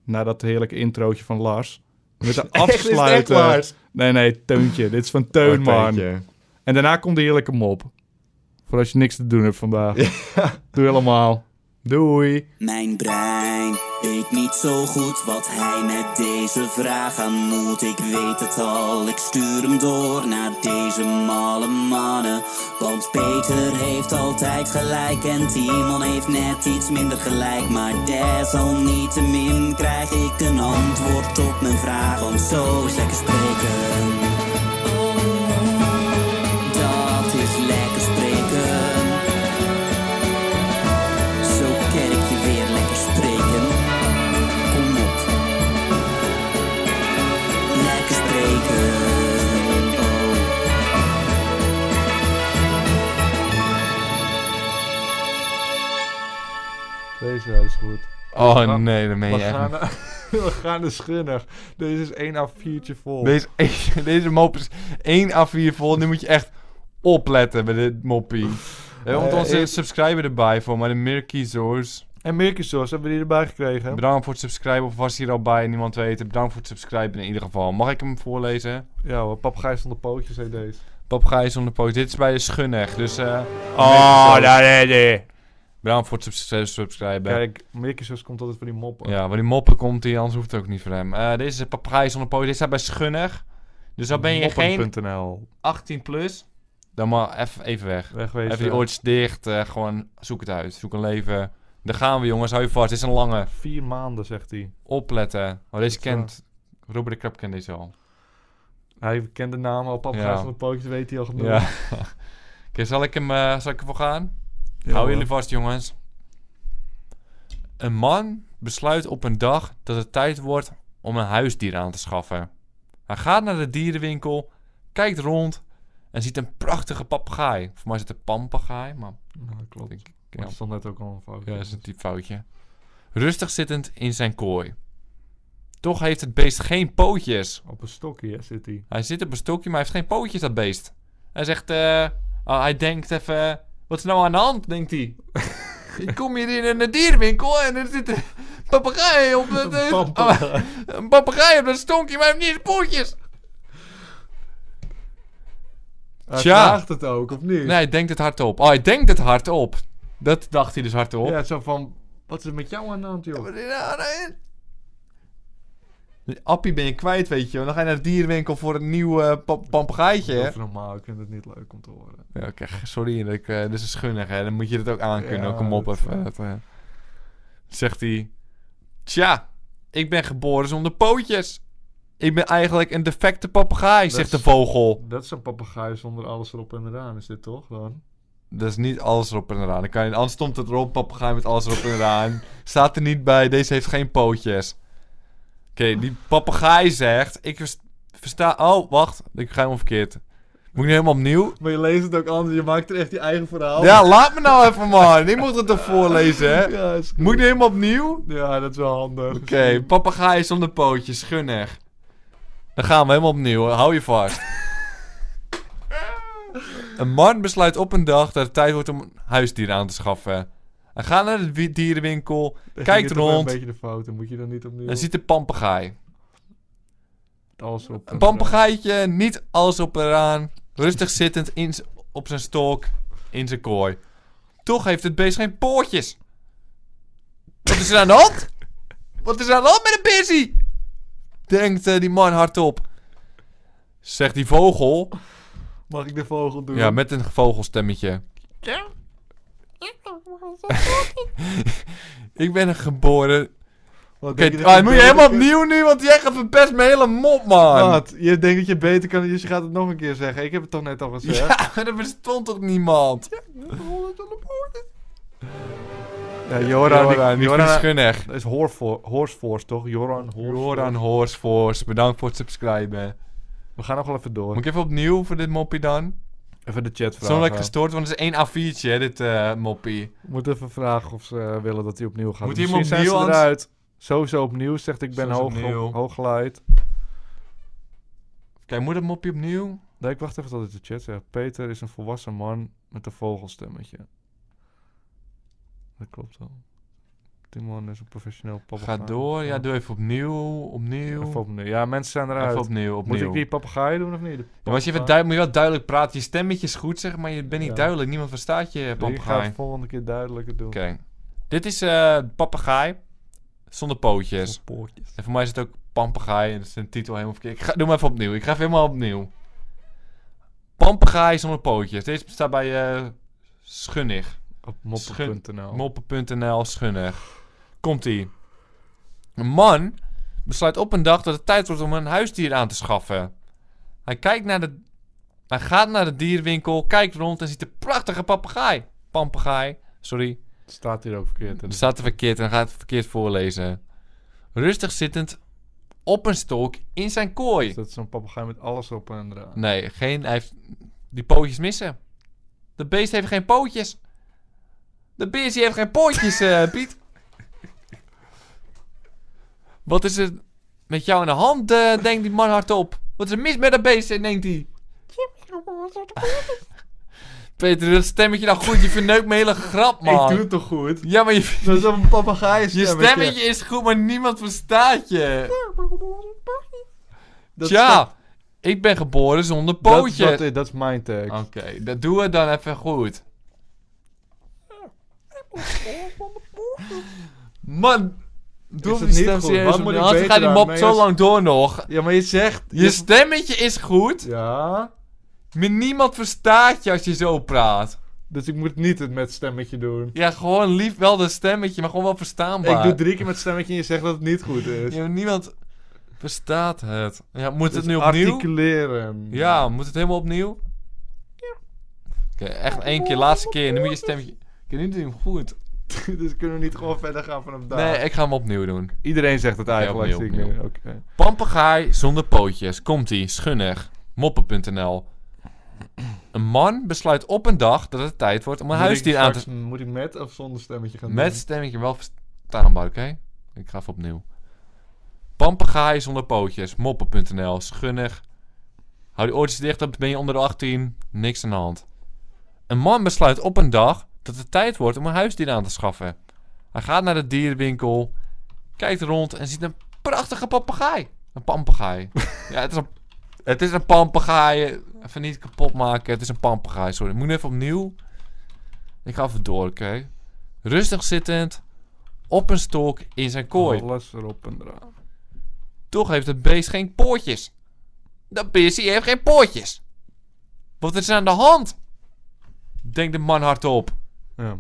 Speaker 1: na dat heerlijke introotje van Lars, met de
Speaker 2: Echt, is het echt
Speaker 1: afsluiter.
Speaker 2: waar?
Speaker 1: Nee, nee, Teuntje. Dit is van Teun,
Speaker 2: Oh,
Speaker 1: man.
Speaker 2: teuntje.
Speaker 1: En daarna komt de heerlijke mop. Voor als je niks te doen hebt vandaag. Doe helemaal.
Speaker 2: Doei.
Speaker 3: Mijn brein weet niet zo goed wat hij met deze vraag aan moet. Ik weet het al, ik stuur hem door naar deze malle mannen. Want Peter heeft altijd gelijk en Timon heeft net iets minder gelijk. Maar desalniettemin krijg ik een antwoord op mijn vraag. Want zo is lekker spreken. Oh, Dat is lekker spreken. Zo ken ik je weer lekker spreken. Kom op. Lekker spreken. Oh.
Speaker 1: Deze is goed.
Speaker 2: Oh nee, dat meen
Speaker 1: We
Speaker 2: je echt
Speaker 1: gaan,
Speaker 2: niet.
Speaker 1: we gaan dus- de schunner. Deze is 1 à 4'tje vol.
Speaker 2: Deze, deze mop is 1 à 4 vol. Nu moet je echt opletten bij dit moppie. We hebben
Speaker 1: Eh,
Speaker 2: onze
Speaker 1: ik-
Speaker 2: subscriber erbij voor, maar de meer kiezers.
Speaker 1: En Mirkensauce hebben we die erbij gekregen.
Speaker 2: Bedankt voor het subscriben, of was hier al bij, niemand weet. het. Bedankt voor het subscriben in ieder geval. Mag ik hem voorlezen?
Speaker 1: Ja hoor, papagaai zonder pootjes heet deze.
Speaker 2: Papagaai zonder poot. Dit is bij de Schunneg, dus... eh
Speaker 1: Oh,
Speaker 2: daar
Speaker 1: nee, nee.
Speaker 2: Bedankt voor het subs- subscriben.
Speaker 1: Kijk, Mirkensauce komt altijd van die moppen.
Speaker 2: Ja, maar die moppen komt hier, anders hoeft het ook niet voor hem. Eh, deze is papagaai zonder poot. Dit staat bij Schunner. Dus dan ben je geen
Speaker 1: Moppen.nl.
Speaker 2: 18 plus. Dan maar eff- even weg.
Speaker 1: Wegwezen.
Speaker 2: Even die oortjes dicht. eh, gewoon zoek het uit. Zoek een leven. Daar gaan we jongens. Hou je vast. Dit is een lange.
Speaker 1: Vier maanden, zegt hij.
Speaker 2: Opletten. Oh, deze
Speaker 1: is waar.
Speaker 2: kent... Robert de Krap kent deze al.
Speaker 1: Hij kent de naam al,
Speaker 2: Ja.
Speaker 1: papagaai van de pootjes weet hij al genoeg.
Speaker 2: Ja. Oké, zal ik hem... eh, zal ik ervoor gaan?
Speaker 1: Ja,
Speaker 2: Hou
Speaker 1: hoor.
Speaker 2: jullie vast, jongens. Een man besluit op een dag dat het tijd wordt om een huisdier aan te schaffen. Hij gaat naar de dierenwinkel, kijkt rond en ziet een prachtige papegaai. Voor mij is het een pampagaai, maar
Speaker 1: Ja, dat klopt.
Speaker 2: Ik-
Speaker 1: Maar het stond net ook al een fout.
Speaker 2: ja, dat is een type foutje. Rustig zittend in zijn kooi.
Speaker 4: Toch heeft het beest geen pootjes.
Speaker 1: Op een stokje hè, zit hij.
Speaker 4: Hij zit op een stokje, maar hij heeft geen pootjes, dat beest. Hij zegt, eh, ah, hij denkt even, wat is nou aan de hand, denkt hij. Ik kom hier in een dierenwinkel en er zit een papegaai op dat... eh,
Speaker 1: Papegaai.
Speaker 4: ah, een papegaai op dat stonkje, maar hij heeft niet eens pootjes.
Speaker 1: Hij
Speaker 4: Tja.
Speaker 1: vraagt het ook, of niet?
Speaker 4: Nee, hij denkt het hardop. Oh, hij denkt het hardop. Dat dacht hij dus hardop.
Speaker 1: Ja, zo van, wat is er met jou aan de hand, joh?
Speaker 4: eh, Appie ben je kwijt, weet je. wel. Dan ga je naar de dierenwinkel voor een nieuw eh, pa- papegaaitje, hè?
Speaker 1: Of normaal, ik vind het niet leuk om te horen.
Speaker 4: Ja, oké, sorry, dat ik, eh, dit is een schunnig, hè. Dan moet je dat ook aankunnen,
Speaker 1: Ja,
Speaker 4: kom op
Speaker 1: dat-
Speaker 4: even. Dat, eh. Zegt hij... Tja, ik ben geboren zonder pootjes. Ik ben eigenlijk een defecte papegaai,
Speaker 1: Dat
Speaker 4: zegt de
Speaker 1: is-
Speaker 4: vogel.
Speaker 1: Dat is een papegaai zonder alles erop en eraan, is dit toch dan?
Speaker 4: Dat is niet alles erop en eraan. Dan kan je, anders stond het erop, papegaai met alles erop en eraan. Staat er niet bij, deze heeft geen pootjes. Oké, die papegaai zegt... Ik vers- versta... Oh, wacht, ik ga hem verkeerd. Moet ik nu helemaal opnieuw?
Speaker 1: Maar je leest het ook anders, je maakt er echt je eigen verhaal.
Speaker 4: Ja, laat me nou even, man. Ik moet het toch voorlezen, hè?
Speaker 1: Ja, is goed.
Speaker 4: Moet ik nu helemaal opnieuw?
Speaker 1: ja, dat is wel handig.
Speaker 4: Oké, papegaai zonder pootjes, gunnig. Dan gaan we helemaal opnieuw, hoor. hou je vast. een man besluit op een dag dat het tijd wordt om een huisdier aan te schaffen. Hij gaat naar de wi- dierenwinkel,
Speaker 1: Dan ging
Speaker 4: kijkt
Speaker 1: het toch wel
Speaker 4: rond
Speaker 1: een beetje de fouten, moet je dan niet opnieuw
Speaker 4: en ziet een papegaai.
Speaker 1: alles erop en
Speaker 4: Een
Speaker 1: eraan.
Speaker 4: pampegaaitje, niet alles op eraan. Rustig zittend in z- op zijn stok, in zijn kooi. Toch heeft het beest geen poortjes. Wat is er aan de hand? Wat is er aan de hand met een busy? Denkt eh, die man hardop. Zegt die vogel.
Speaker 1: Mag ik de vogel doen?
Speaker 4: Ja, met een vogelstemmetje. Ik ben een geboren...
Speaker 1: Wat
Speaker 4: Oké,
Speaker 1: denk dat
Speaker 4: ah, moet je
Speaker 1: beter
Speaker 4: helemaal
Speaker 1: kunt-
Speaker 4: opnieuw nu, want jij gaat verpest mijn hele mop, man.
Speaker 1: Wat? Je denkt dat je beter kan, dus je gaat het nog een keer zeggen. Ik heb het toch net al gezegd?
Speaker 4: Ja, maar er bestond toch niemand?
Speaker 1: Ja, Joran,
Speaker 4: Joran, Joran,
Speaker 1: die,
Speaker 4: die
Speaker 1: Joran-
Speaker 4: gunnig.
Speaker 1: Dat is Horfo- Horsforce, toch? Joran Horsforce.
Speaker 4: Joran Horsfors, bedankt voor het subscriben.
Speaker 1: We gaan nog wel even door.
Speaker 4: Moet ik even opnieuw voor dit moppie dan?
Speaker 1: Even de chat
Speaker 4: Zo lekker
Speaker 1: vragen.
Speaker 4: gestoord, want het is één A4'tje, hè, dit eh, moppie.
Speaker 1: Moet even vragen of ze eh, willen dat hij opnieuw gaat.
Speaker 4: Moet hij hem
Speaker 1: Misschien zijn ze
Speaker 4: opnieuw, Hans?
Speaker 1: eruit. Sowieso opnieuw, zegt ik ben
Speaker 4: Sowieso
Speaker 1: hoog,
Speaker 4: opnieuw.
Speaker 1: hooggeleid.
Speaker 4: Kijk, moet dat moppie opnieuw?
Speaker 1: Nee, ik wacht even tot het de chat zegt. Peter is een volwassen man met een vogelstemmetje. Dat klopt wel. Timon is een professioneel papa.
Speaker 4: Ga door, ja, doe even opnieuw, opnieuw.
Speaker 1: Even
Speaker 4: Even
Speaker 1: opnieuw. Ja, mensen zijn eruit.
Speaker 4: opnieuw,
Speaker 1: Moet
Speaker 4: opnieuw.
Speaker 1: ik die papegaai doen of niet? De
Speaker 4: Ja, maar als je even
Speaker 1: papegaai.
Speaker 4: duid- moet je wel duidelijk praten, je stemmetje is goed zeg, maar je bent niet
Speaker 1: Ja.
Speaker 4: duidelijk, niemand verstaat je
Speaker 1: Ik ga
Speaker 4: papegaai.
Speaker 1: het
Speaker 4: Oké,
Speaker 1: volgende keer duidelijker doen.
Speaker 4: dit is eh papegaai zonder pootjes.
Speaker 1: Op poortjes.
Speaker 4: En voor mij is het ook Pampegaai en dat is een titel helemaal verkeerd. Ik ga, doe maar even opnieuw. Ik ga even helemaal opnieuw. Pampegaai zonder pootjes. Deze staat bij eh, Schunnig.
Speaker 1: Op moppen.nl.
Speaker 4: Moppen.nl Schunnig. Komt ie. Een man besluit op een dag dat het tijd wordt om een huisdier aan te schaffen. Hij, kijkt naar de, hij gaat naar de dierwinkel, kijkt rond en ziet een prachtige papegaai. Pampegaai, sorry.
Speaker 1: Staat hier ook verkeerd. in.
Speaker 4: Het staat er verkeerd en hij gaat het verkeerd voorlezen. Rustig zittend op een stok in zijn kooi.
Speaker 1: Dus dat is zo'n papegaai met alles op en eraan.
Speaker 4: Nee, geen, hij heeft die pootjes missen. De beest heeft geen pootjes. De beest die heeft geen pootjes, eh, Piet. Wat is er met jou aan de hand, eh, denkt die man hardop. Wat is er mis met dat beest, denkt hij. Peter, dat stemmetje nou goed. Je verneukt mijn hele grap, man.
Speaker 1: Ik doe het toch goed?
Speaker 4: Ja, maar je...
Speaker 1: Dat is een papegaai
Speaker 4: Je stemmetje is goed, maar niemand verstaat je. Tja, ik ben geboren zonder pootje.
Speaker 1: Dat, dat, dat is mijn tekst.
Speaker 4: Oké, dat doen we dan even goed. Man, doe
Speaker 1: Is het
Speaker 4: even die
Speaker 1: niet
Speaker 4: stem
Speaker 1: goed?
Speaker 4: serieus
Speaker 1: Wat
Speaker 4: opnieuw,
Speaker 1: moet ik
Speaker 4: anders
Speaker 1: beter
Speaker 4: gaat die
Speaker 1: aan?
Speaker 4: mop
Speaker 1: Nee,
Speaker 4: zo
Speaker 1: als-
Speaker 4: lang door nog.
Speaker 1: Ja, maar je zegt...
Speaker 4: Je stemmetje is goed,
Speaker 1: Ja,
Speaker 4: maar niemand verstaat je als je zo praat.
Speaker 1: dus ik moet niet het met stemmetje doen.
Speaker 4: Ja, gewoon lief wel dat stemmetje, maar gewoon wel verstaanbaar.
Speaker 1: Ik doe drie keer met stemmetje en je zegt dat het niet goed is.
Speaker 4: Ja, maar niemand verstaat het. Ja, moet
Speaker 1: Dus
Speaker 4: het nu opnieuw?
Speaker 1: Articuleren.
Speaker 4: Ja, moet het helemaal opnieuw? Oké, echt één keer, laatste keer. En dan moet je stemmetje... Ik nu doe je hem goed.
Speaker 1: dus kunnen we niet gewoon verder gaan vanaf daar.
Speaker 4: Nee, ik ga hem opnieuw doen.
Speaker 1: Iedereen zegt het eigenlijk.
Speaker 4: opnieuw,
Speaker 1: zie ik nu.
Speaker 4: opnieuw.
Speaker 1: Oké.
Speaker 4: Pampegaai zonder pootjes. Komt-ie, schunnig. Moppen.nl Een man besluit op een dag dat het tijd wordt om een
Speaker 1: Moet ik
Speaker 4: huisdier aan te...
Speaker 1: straks- Moet ik met of zonder stemmetje gaan
Speaker 4: Met
Speaker 1: doen?
Speaker 4: stemmetje wel verstaanbaar, oké? Ik ga even opnieuw. Pampagaai zonder pootjes. Moppen.nl. Schunnig. Hou die oortjes dicht, dan ben je onder de 18. Niks aan de hand. Een man besluit op een dag dat het tijd wordt om een huisdier aan te schaffen. Hij gaat naar de dierenwinkel, kijkt rond en ziet een prachtige papegaai. Een papegaai. ja, het is een, het is een papegaai. Even niet kapot maken, het is een papegaai. Sorry, ik moet even opnieuw. Ik ga even door, oké. Rustig zittend, op een stok in zijn kooi.
Speaker 1: Alles erop en eraan.
Speaker 4: Toch heeft het beest geen poortjes. Dat beestje heeft geen poortjes. Wat is er aan de hand? Denkt de man hardop,
Speaker 1: Ja,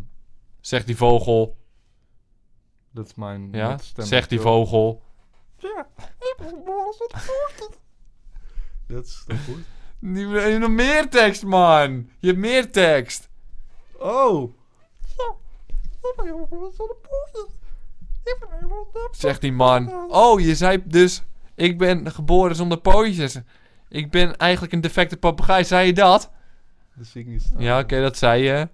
Speaker 4: zegt die vogel.
Speaker 1: dat is mijn
Speaker 4: Ja,
Speaker 1: dat stem-
Speaker 4: zegt die vogel.
Speaker 2: Dat is toch goed?
Speaker 4: Je hebt nog meer tekst, man. Je hebt meer tekst.
Speaker 2: Oh!
Speaker 4: Zegt die man. Oh, je zei dus... Ik ben geboren zonder pootjes. Ik ben eigenlijk een defecte papegaai. Zei je dat?
Speaker 1: Dat zie ik niet staan.
Speaker 4: Ja, oké, dat zei je.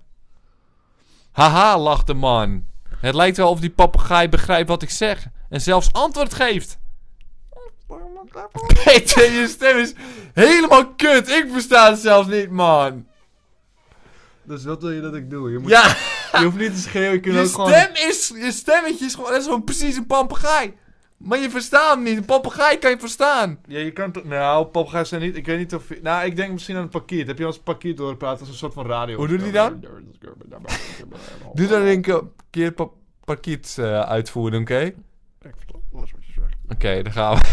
Speaker 4: Haha, lacht de man. Het lijkt wel of die papegaai begrijpt wat ik zeg. En zelfs antwoord geeft. Peter, je stem is helemaal kut. Ik versta het zelfs niet, man.
Speaker 2: Dus wat wil je dat ik doe? Je, moet,
Speaker 4: Ja.
Speaker 2: je hoeft niet te schreeuwen, je kunt
Speaker 4: Je
Speaker 2: ook gewoon...
Speaker 4: stem is, je stemmetje is gewoon, dat is gewoon precies een papegaai. Maar je verstaat hem niet. Een papegaai kan je verstaan.
Speaker 1: Ja, je kan toch... Nou, papegaaien zijn niet... Ik weet niet of... je- Nou, ik denk misschien aan een parkiet. Heb je als parkiet doorpraten als een soort van radio?
Speaker 4: Hoe doet die dan? Doe dan een keer- keer pa parkiet eh, uitvoeren, oké?
Speaker 1: Ik vertel alles wat je zegt.
Speaker 4: Oké, dan gaan we.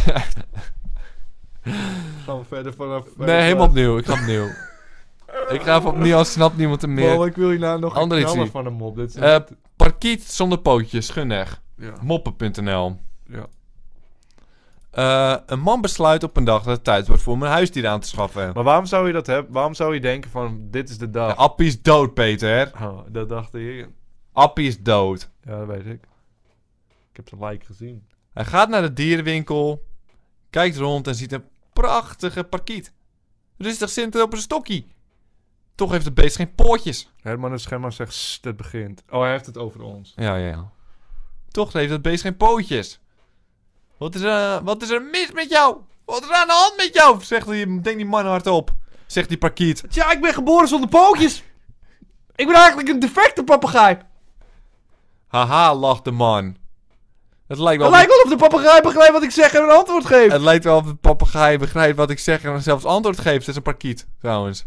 Speaker 1: Gaan we verder vanaf... eh,
Speaker 4: Nee, helemaal opnieuw. Ik ga opnieuw. ik ga even opnieuw, anders snapt niemand hem meer.
Speaker 1: Maar ik wil hierna nog
Speaker 4: Ander
Speaker 1: een
Speaker 4: iets
Speaker 1: knaller
Speaker 4: zien.
Speaker 1: van een mop. Dit is
Speaker 4: Eh, parkiet zonder pootjes, gunnig.
Speaker 1: ja.
Speaker 4: Moppen.nl
Speaker 1: Ja.
Speaker 4: Eh, een man besluit op een dag dat het tijd wordt voor om een huisdier aan te schaffen.
Speaker 1: Maar waarom zou je dat hebben? Waarom zou je denken van, dit is de
Speaker 4: De
Speaker 1: dag?
Speaker 4: appie is dood, Peter.
Speaker 1: Oh, dat dacht ik.
Speaker 4: Appie is dood.
Speaker 1: Ja, dat weet ik. Ik heb zijn like gezien.
Speaker 4: Hij gaat naar de dierenwinkel, kijkt rond en ziet een prachtige parkiet. Rustig zit er op een stokkie. Toch heeft het beest geen poortjes.
Speaker 1: Herman de Schemmer zegt, "Sst, het begint. Oh, hij heeft het over ons.
Speaker 4: Ja, ja, ja. Toch heeft het beest geen pootjes. Wat is, er, eh, wat is er mis met jou? Wat is er aan de hand met jou? Zegt die, denkt die man hardop. Zegt die parkiet.
Speaker 2: Tja, ik ben geboren zonder pootjes! Ik ben eigenlijk een defecte papegaai!
Speaker 4: Haha, lacht de man. Het lijkt wel,
Speaker 2: Het lijkt wel of de papegaai begrijpt wat ik zeg en een antwoord geeft!
Speaker 4: het lijkt wel of de papegaai begrijpt wat ik zeg en zelfs antwoord geeft. Het is een parkiet, trouwens.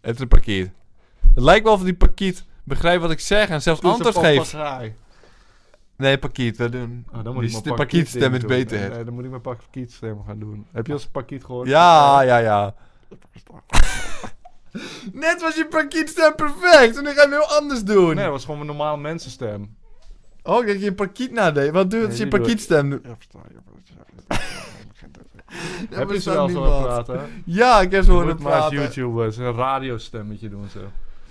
Speaker 4: Het is een parkiet. Het lijkt wel of die parkiet begrijpt wat ik zeg en zelfs antwoord geeft. Nee, parkiet. We doen...
Speaker 1: Ah, dan mijn
Speaker 4: die st- parkietstem is
Speaker 1: doen. Nee,
Speaker 4: beter.
Speaker 1: nee, dan moet ik mijn parkietstem gaan doen. Heb je als parkiet gehoord?
Speaker 4: Ja, ja, ja. Net was je parkietstem perfect. En nu ga je hem heel anders doen.
Speaker 1: Nee, dat was gewoon mijn normale mensenstem.
Speaker 4: Oh, ik dacht dat je parkiet nadeed. Wat doe je als
Speaker 1: Nee,
Speaker 4: je
Speaker 1: die doe ik.
Speaker 4: parkietstem doet?
Speaker 1: Ja, versta je. Heb
Speaker 4: Daar
Speaker 1: je ze
Speaker 4: bestaat
Speaker 1: wel zo
Speaker 4: niemand.
Speaker 1: horen praten?
Speaker 4: Ja, ik heb ze
Speaker 1: Hoor
Speaker 4: horen
Speaker 1: het maar als
Speaker 4: praten.
Speaker 1: YouTubers, een radiostemmetje doen zo.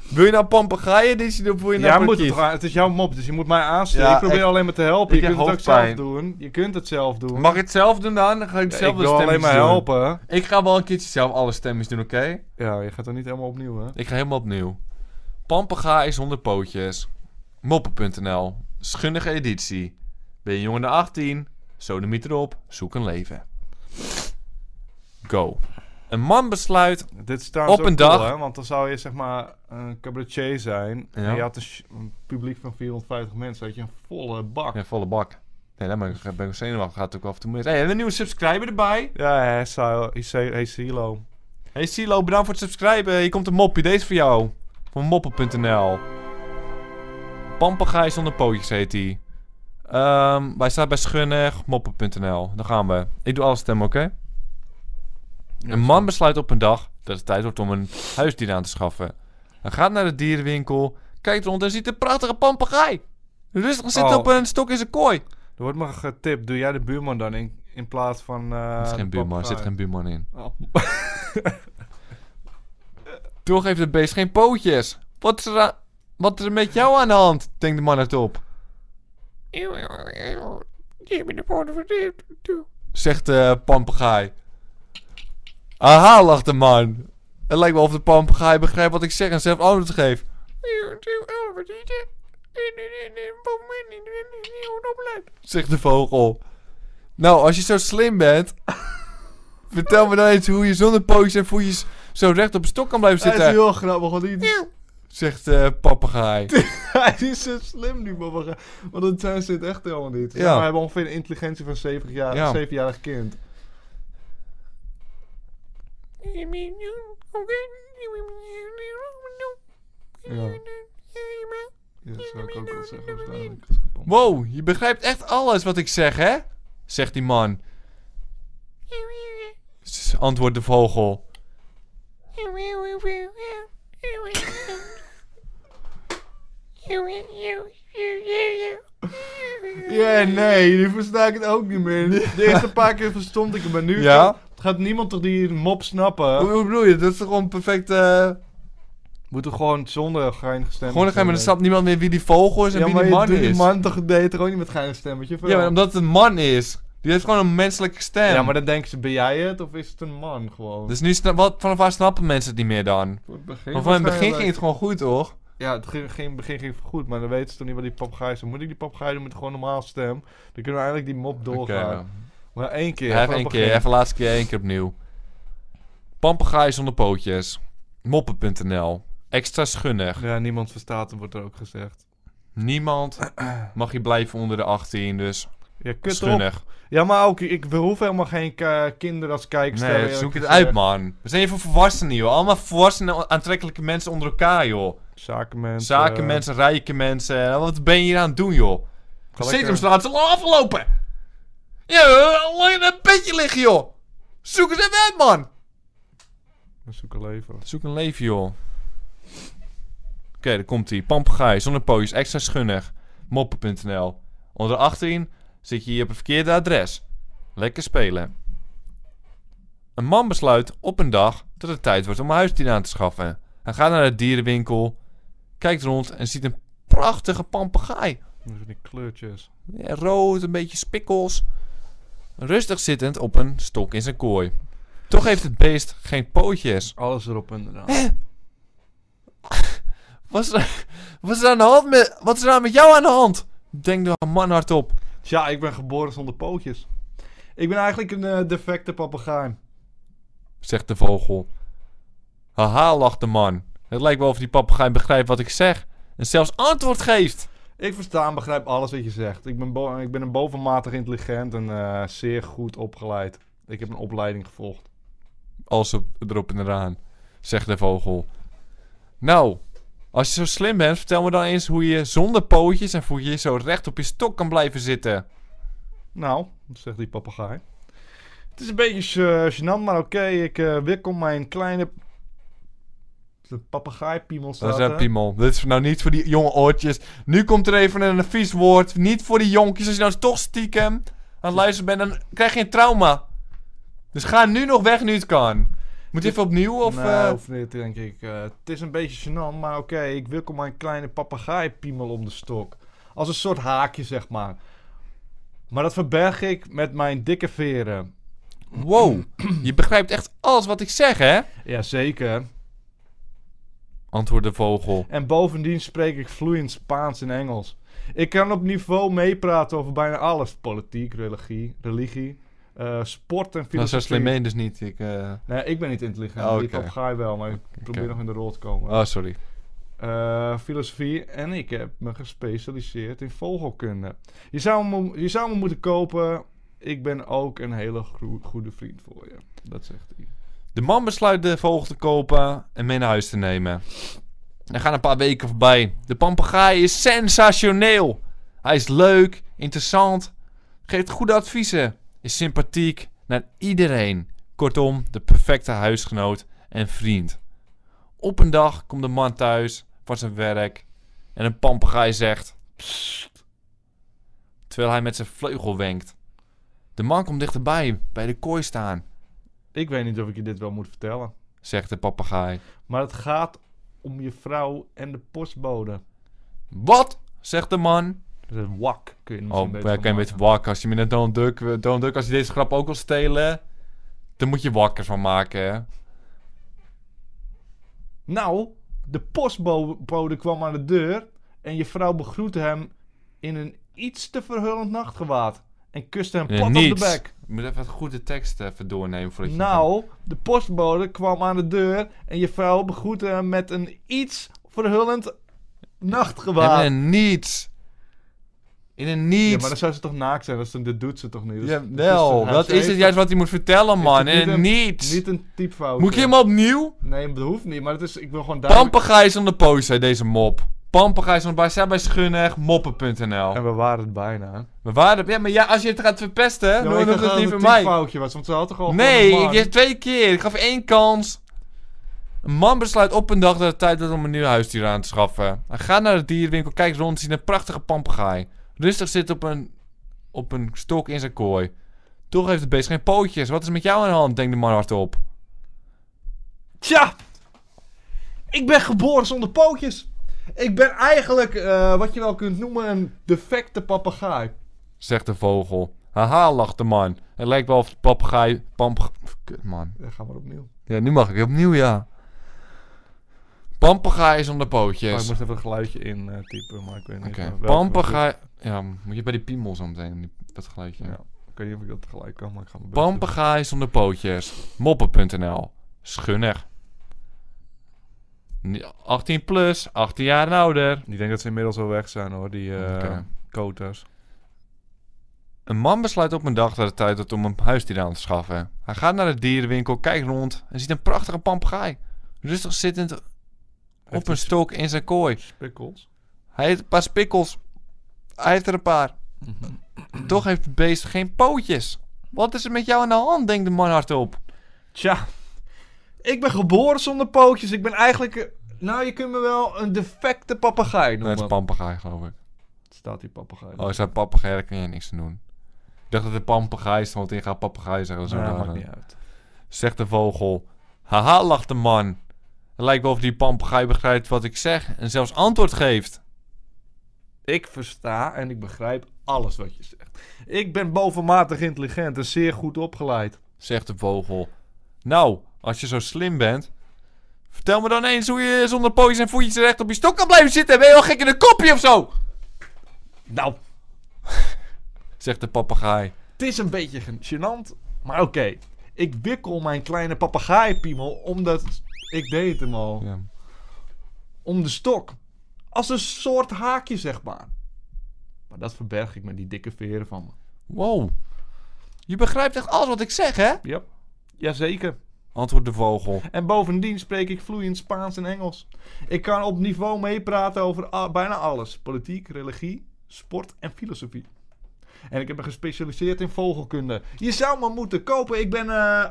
Speaker 4: Wil je nou pampegaaien editie of wil je
Speaker 1: Jij
Speaker 4: nou
Speaker 1: moet
Speaker 4: parkiet?
Speaker 1: het, gaan- het is jouw mop, dus je moet mij aansturen.
Speaker 4: Ja,
Speaker 1: ik probeer
Speaker 4: ik-
Speaker 1: alleen maar te helpen.
Speaker 4: ik
Speaker 1: Je
Speaker 4: heb
Speaker 1: kunt het ook zelf
Speaker 4: hoofdpijn.
Speaker 1: doen. Je kunt het zelf doen.
Speaker 4: Mag ik het zelf doen dan? Dan ga ik
Speaker 1: Ja,
Speaker 4: zelf
Speaker 1: ik
Speaker 4: de
Speaker 1: wil alleen
Speaker 4: stemmetjes
Speaker 1: maar
Speaker 4: doen.
Speaker 1: helpen.
Speaker 4: Ik ga wel een keertje zelf alle stemmetjes doen, oké?
Speaker 1: Ja, je gaat er niet helemaal opnieuw, hè?
Speaker 4: Ik ga helemaal opnieuw. Pampagaai zonder pootjes. Moppen.nl. Schunnige editie. Ben je jonger dan 18? Sodemiet erop. Zoek een leven. Go. Een man besluit...
Speaker 1: Dit staat op
Speaker 4: Op een
Speaker 1: een cool,
Speaker 4: dag.
Speaker 1: hè? Want dan zou je zeg maar een cabaretier zijn.
Speaker 4: Ja.
Speaker 1: En je had een, sh- een publiek van 450 mensen. Had je een volle bak.
Speaker 4: Ja, volle bak. Nee, daar ben ik, ben ik nog zenuwachtig. Gaat ook af en toe mis. Hey, hebben we een nieuwe subscriber erbij?
Speaker 1: Ja, hij zou. hij zei- Hij Silo.
Speaker 4: Hey Silo, bedankt voor het subscriben. Hier komt een mopje. Deze is voor jou. Van moppen.nl. Pampagaai zonder pootjes heet die. Ehm, wij staan bij Schunnig. Moppen.nl. Dan gaan we. Ik doe alle stemmen, oké? een man besluit op een dag dat het tijd wordt om een huisdier aan te schaffen. Hij gaat naar de dierenwinkel, kijkt rond en ziet een prachtige papegaai. Rustig zit
Speaker 1: Oh.
Speaker 4: op een stok in zijn kooi.
Speaker 1: Er wordt me getipt. Doe jij de buurman dan in, in plaats van. eh
Speaker 4: Er is geen
Speaker 1: de
Speaker 4: buurman, er
Speaker 1: papegaai?
Speaker 4: zit geen buurman in.
Speaker 1: Oh.
Speaker 4: Toch heeft het beest geen pootjes. Wat is er, aan- wat is er met jou aan de hand? Denkt de man hardop. Zegt de papegaai. Aha, lacht de man. Het lijkt wel of de papegaai begrijpt wat ik zeg en zelf antwoord geeft. Zegt de vogel. Nou, als je zo slim bent, vertel me dan eens hoe je zonder pootjes en voetjes zo recht op een stok kan blijven
Speaker 2: Eh,
Speaker 1: Hij is
Speaker 4: zitten.
Speaker 1: heel grappig, want die,
Speaker 4: Zegt eh papegaai.
Speaker 1: hij is zo slim nu, maar we gaan- want dat zijn ze het echt helemaal niet.
Speaker 4: Ja.
Speaker 1: Ja. We hebben ongeveer de intelligentie van een 70 jaar,
Speaker 4: Ja.
Speaker 1: 7-jarig kind. Ja. Ja, dat zou ik ook wel zeggen. als dadelijk als ik op-
Speaker 4: Wow, je begrijpt echt alles wat ik zeg, hè? Zegt die man. S- Antwoordt de vogel.
Speaker 1: Ja, nee, nu versta ik het ook niet meer. De eerste paar keer verstond ik het, maar nu
Speaker 4: Ja?
Speaker 1: gaat, gaat niemand toch die mop snappen.
Speaker 4: Hoe, hoe bedoel je? Dat is toch gewoon perfect... eh,
Speaker 1: Moeten we gewoon zonder geinig stemmetje.
Speaker 4: Gewoon dan ga je met een
Speaker 1: doen.
Speaker 4: snap niemand meer wie die vogel is en
Speaker 1: Ja,
Speaker 4: wie
Speaker 1: maar
Speaker 4: die
Speaker 1: je
Speaker 4: man
Speaker 1: doet die
Speaker 4: is.
Speaker 1: man toch deed er ook niet met geinig stemmetje? of
Speaker 4: Ja, maar
Speaker 1: wel?
Speaker 4: omdat het een man is. Die heeft gewoon een menselijke stem.
Speaker 1: ja, maar dan denken ze, ben jij het of is het een man gewoon?
Speaker 4: Dus nu, sna- wat, vanaf waar snappen mensen het niet meer dan?
Speaker 1: Voor het begin
Speaker 4: Want van in het begin
Speaker 1: waarschijnlijk.
Speaker 4: ging het gewoon goed, toch?
Speaker 1: Ja, het ging, ging, begin ging goed, maar dan weten ze toen niet wat die papegaai is. Dan moet ik die papegaai doen met gewoon normaal stem. Dan kunnen we eigenlijk die mop doorgaan.
Speaker 4: Oké.
Speaker 1: Maar één keer.
Speaker 4: Ja, even
Speaker 1: van
Speaker 4: één
Speaker 1: het
Speaker 4: keer,
Speaker 1: begin.
Speaker 4: even laatste keer, één keer opnieuw. Pampagaai zonder pootjes. Moppen.nl. Extra schunnig.
Speaker 1: Ja, niemand verstaat hem, wordt er ook gezegd.
Speaker 4: Niemand mag je blijven onder de 18, dus
Speaker 1: Ja, kut op.
Speaker 4: schunnig.
Speaker 1: Ja, maar ook, ik, we hoeven helemaal geen eh, kinderen als kijkers te
Speaker 4: Nee,
Speaker 1: hebben,
Speaker 4: zoek het
Speaker 1: eerlijk
Speaker 4: uit,
Speaker 1: gezegd.
Speaker 4: man. We zijn hier voor volwassenen, joh. Allemaal volwassenen, aantrekkelijke mensen onder elkaar, joh.
Speaker 1: Zakenmensen.
Speaker 4: Zakenmensen, rijke mensen. Wat ben je hier aan het doen, joh?
Speaker 1: Ga lekker.
Speaker 4: Centrumstraat zal al aflopen. Ja, alleen in een bedje liggen, joh. Zoek eens even uit, man.
Speaker 1: eh, We zoeken leven.
Speaker 4: Zoek een leven, joh. Oké, daar komt hij. Pampagaai, zonnepootjes, extra schunnig. Moppen.nl. Onder 18 zit je hier op het verkeerde adres. Lekker spelen. Een man besluit op een dag dat het tijd wordt om een huisdier aan te schaffen. Hij gaat naar de dierenwinkel, kijkt rond en ziet een prachtige papegaai.
Speaker 1: Dus van die kleurtjes.
Speaker 4: Ja, rood, een beetje spikkels. Rustig zittend op een stok in zijn kooi. Toch heeft het beest geen pootjes.
Speaker 1: Alles erop inderdaad.
Speaker 4: Wat is er, wat is er aan de hand met... Wat is er aan met jou aan de hand? Denk de man hardop.
Speaker 1: Tja, ik ben geboren zonder pootjes. Ik ben eigenlijk een eh, defecte papegaai.
Speaker 4: Zegt de vogel. Haha, lacht de man. Het lijkt wel of die papegaai begrijpt wat ik zeg. En zelfs antwoord geeft.
Speaker 1: Ik versta en begrijp alles wat je zegt. Ik ben, bo- ik ben een bovenmatig intelligent en eh, zeer goed opgeleid. Ik heb een opleiding gevolgd.
Speaker 4: Als op, erop en eraan. Zegt de vogel. Nou, als je zo slim bent, vertel me dan eens hoe je zonder pootjes en voetjes zo recht op je stok kan blijven zitten.
Speaker 1: Nou, zegt die papegaai. Het is een beetje eh, gênant, maar oké. ik eh, wikkel mijn kleine... De papegaaipiemel
Speaker 4: Dat
Speaker 1: staat
Speaker 4: is een
Speaker 1: er.
Speaker 4: piemel. Dit is nou niet voor die jonge oortjes. Nu komt er even een vies woord. Niet voor die jonkies. Als je nou toch stiekem aan het luisteren bent, dan krijg je een trauma. Dus ga nu nog weg nu het kan. Moet je even opnieuw of...
Speaker 1: nee,
Speaker 4: eh,
Speaker 1: hoeft niet, denk ik. Eh, het is een beetje gênant, maar oké. ik wikkel mijn kleine papegaaipiemel om de stok. Als een soort haakje, zeg maar. Maar dat verberg ik met mijn dikke veren.
Speaker 4: Wow, je begrijpt echt alles wat ik zeg, hè?
Speaker 1: Jazeker.
Speaker 4: Antwoordt de vogel.
Speaker 1: En bovendien spreek ik vloeiend Spaans en Engels. Ik kan op niveau meepraten over bijna alles. Politiek, religie, religie eh, sport en filosofie.
Speaker 4: Nou, zo slim ben je dus niet. Ik, eh,
Speaker 1: Nee, ik ben niet intelligent.
Speaker 4: Oh,
Speaker 1: Die
Speaker 4: oké.
Speaker 1: papegaai wel, maar ik probeer nog in de rol te komen.
Speaker 4: Oh, sorry.
Speaker 1: Eh, filosofie en ik heb me gespecialiseerd in vogelkunde. Je zou me, je zou me moeten kopen. Ik ben ook een hele groe- goede vriend voor je. Dat zegt hij.
Speaker 4: De man besluit de vogel te kopen en mee naar huis te nemen. Er gaan een paar weken voorbij. De papegaai is sensationeel. Hij is leuk, interessant, geeft goede adviezen, is sympathiek naar iedereen. Kortom, de perfecte huisgenoot en vriend. Op een dag komt de man thuis van zijn werk en een papegaai zegt... "Psst," terwijl hij met zijn vleugel wenkt. De man komt dichterbij, bij de kooi staan,
Speaker 1: Ik weet niet of ik je dit wel moet vertellen.
Speaker 4: zegt de papegaai.
Speaker 1: Maar het gaat om je vrouw en de postbode.
Speaker 4: Wat? zegt de man.
Speaker 1: Dat is een wak, kun je er misschien
Speaker 4: Oh,
Speaker 1: beter
Speaker 4: ja,
Speaker 1: van
Speaker 4: kan je
Speaker 1: maken.
Speaker 4: beetje wakker. Als je me net Donald Duck, eh, Donald Duck, als je deze grap ook wil stelen, dan moet je wakker van maken, hè?
Speaker 1: Nou, de postbode kwam aan de deur en je vrouw begroette hem in een iets te verhullend nachtgewaad. en kuste hem
Speaker 4: Nee,
Speaker 1: plat op
Speaker 4: niets.
Speaker 1: de bek.
Speaker 4: Ik moet even het goede tekst even doornemen voordat je...
Speaker 1: Nou, de postbode kwam aan de deur en je vrouw begroette hem met een iets verhullend nachtgewaad.
Speaker 4: En in een niets. In een
Speaker 1: Ja,
Speaker 4: niets.
Speaker 1: maar dan zou ze toch naakt zijn, dat, is- dat doet ze toch niet? Dat is-
Speaker 4: Jawel,
Speaker 1: dus, eh,
Speaker 4: dat
Speaker 1: ze
Speaker 4: is het
Speaker 1: heeft-
Speaker 4: juist wat hij moet vertellen, man.
Speaker 1: Heeft het
Speaker 4: In een niets.
Speaker 1: Niet een typfout.
Speaker 4: Moet ik helemaal opnieuw?
Speaker 1: Nee, dat hoeft niet, maar het is, ik wil gewoon duidelijk...
Speaker 4: Pampagaai is aan de post, zei deze mop. Pampagaai is aan de post. Zij bij Schunnig, moppen.nl.
Speaker 1: En we waren het bijna.
Speaker 4: Maar waar de... Ja, maar ja, als je het gaat verpesten,
Speaker 1: maar
Speaker 4: dan
Speaker 1: ik
Speaker 4: doet
Speaker 1: dacht
Speaker 4: het
Speaker 1: dat
Speaker 4: niet
Speaker 1: het
Speaker 4: bij
Speaker 1: een
Speaker 4: mij.
Speaker 1: typfoutje was, want ze had toch al
Speaker 4: Nee,
Speaker 1: gewoon een
Speaker 4: ik
Speaker 1: man.
Speaker 4: heb twee keer. Ik gaf één kans. Een man besluit op een dag dat het tijd is om een nieuw huisdier aan te schaffen. Hij gaat naar de dierenwinkel, kijkt rond, ziet een prachtige papegaai. Rustig zit op een, op een stok in zijn kooi. Toch heeft het beest geen pootjes. Wat is met jou aan de hand? denkt de man hardop.
Speaker 1: Tja, ik ben geboren zonder pootjes. Ik ben eigenlijk eh, wat je wel kunt noemen een defecte papegaai.
Speaker 4: Zegt de vogel. Haha, lacht de man. Het lijkt wel of de papegaai... Pamp... Kut, man.
Speaker 1: Ja, ga maar opnieuw.
Speaker 4: Ja, nu mag ik opnieuw, ja. Papegaai is onder pootjes.
Speaker 1: Oh, ik moest even een geluidje in eh, typen, maar ik weet niet.
Speaker 4: Oké,
Speaker 1: eh, welke-
Speaker 4: papegaai... Ja, moet je bij die piemel zo meteen, die- dat geluidje.
Speaker 1: Ja, ik weet niet of ik dat tegelijk kan, maar ik ga mijn best doen.
Speaker 4: Pampagaai zonder pootjes. Moppen.nl. Schunner. 18 plus, 18 jaar en ouder.
Speaker 1: Ik denk dat ze inmiddels al weg zijn hoor, die eh
Speaker 4: Oké.
Speaker 1: koters.
Speaker 4: Een man besluit op een dag dat het tijd wordt om een huisdier aan te schaffen. Hij gaat naar de dierenwinkel, kijkt rond en ziet een prachtige papegaai. Rustig zittend op een stok in zijn kooi.
Speaker 1: Spikkels.
Speaker 4: Hij heeft een paar spikkels. Hij heeft er een paar.
Speaker 1: Mhm.
Speaker 4: Toch heeft het beest geen pootjes. Wat is er met jou aan de hand? denkt de man hardop.
Speaker 1: Tja, ik ben geboren zonder pootjes. Ik ben eigenlijk, eh, nou je kunt me wel een defecte papegaai
Speaker 4: Dat
Speaker 1: noemen.
Speaker 4: is een papegaai, geloof ik.
Speaker 1: Staat die papegaai.
Speaker 4: Oh, is dat papegaai? Daar kun je niks aan doen. Ik dacht dat het papegaai stond in. Ga papegaai zeggen. Zo
Speaker 1: Nou,
Speaker 4: daar,
Speaker 1: maakt
Speaker 4: eh.
Speaker 1: niet uit.
Speaker 4: Zegt de vogel. Haha, lacht de man. Het lijkt wel of die papegaai begrijpt wat ik zeg en zelfs antwoord geeft.
Speaker 1: Ik versta en ik begrijp alles wat je zegt. Ik ben bovenmatig intelligent en zeer goed opgeleid.
Speaker 4: Zegt de vogel. Nou, als je zo slim bent. Vertel me dan eens hoe je zonder pootjes en voetjes recht op je stok kan blijven zitten. Ben je wel gek in een kopje of zo?
Speaker 1: Nou,
Speaker 4: Zegt de papegaai.
Speaker 1: het is een beetje gen- gênant, maar oké. Ik wikkel mijn kleine papegaaipiemel omdat ik deed hem al.
Speaker 4: Ja.
Speaker 1: om de stok. Als een soort haakje, zeg maar. Maar dat verberg ik met die dikke veren van me.
Speaker 4: Wow. Je begrijpt echt alles wat ik zeg, hè?
Speaker 1: Yep. Jazeker.
Speaker 4: Antwoordt de vogel.
Speaker 1: En bovendien spreek ik vloeiend Spaans en Engels. Ik kan op niveau meepraten over a- bijna alles: politiek, religie, sport en filosofie. En ik heb me gespecialiseerd in vogelkunde. Je zou me moeten kopen. Ik ben eh,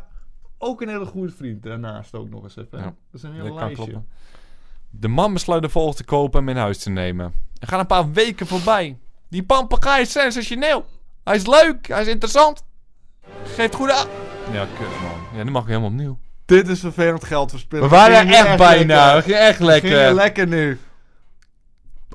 Speaker 1: ook een hele goede vriend. Daarnaast ook nog eens even. hè.
Speaker 4: Ja,
Speaker 1: Dat is een heel
Speaker 4: Dat kan
Speaker 1: lijstje.
Speaker 4: kloppen. De man besluit de vogel te kopen en in huis te nemen. Er gaan een paar weken voorbij. Die papegaai is sensationeel. Hij is leuk, hij is interessant. Geeft goede... a- Ja, kut man. Ja, nu mag ik helemaal opnieuw.
Speaker 1: Dit is vervelend geld verspillen.
Speaker 4: We waren
Speaker 1: Ging
Speaker 4: er echt bijna. We
Speaker 1: lekker.
Speaker 4: gingen echt
Speaker 1: Ging je
Speaker 4: lekker.
Speaker 1: lekker nu.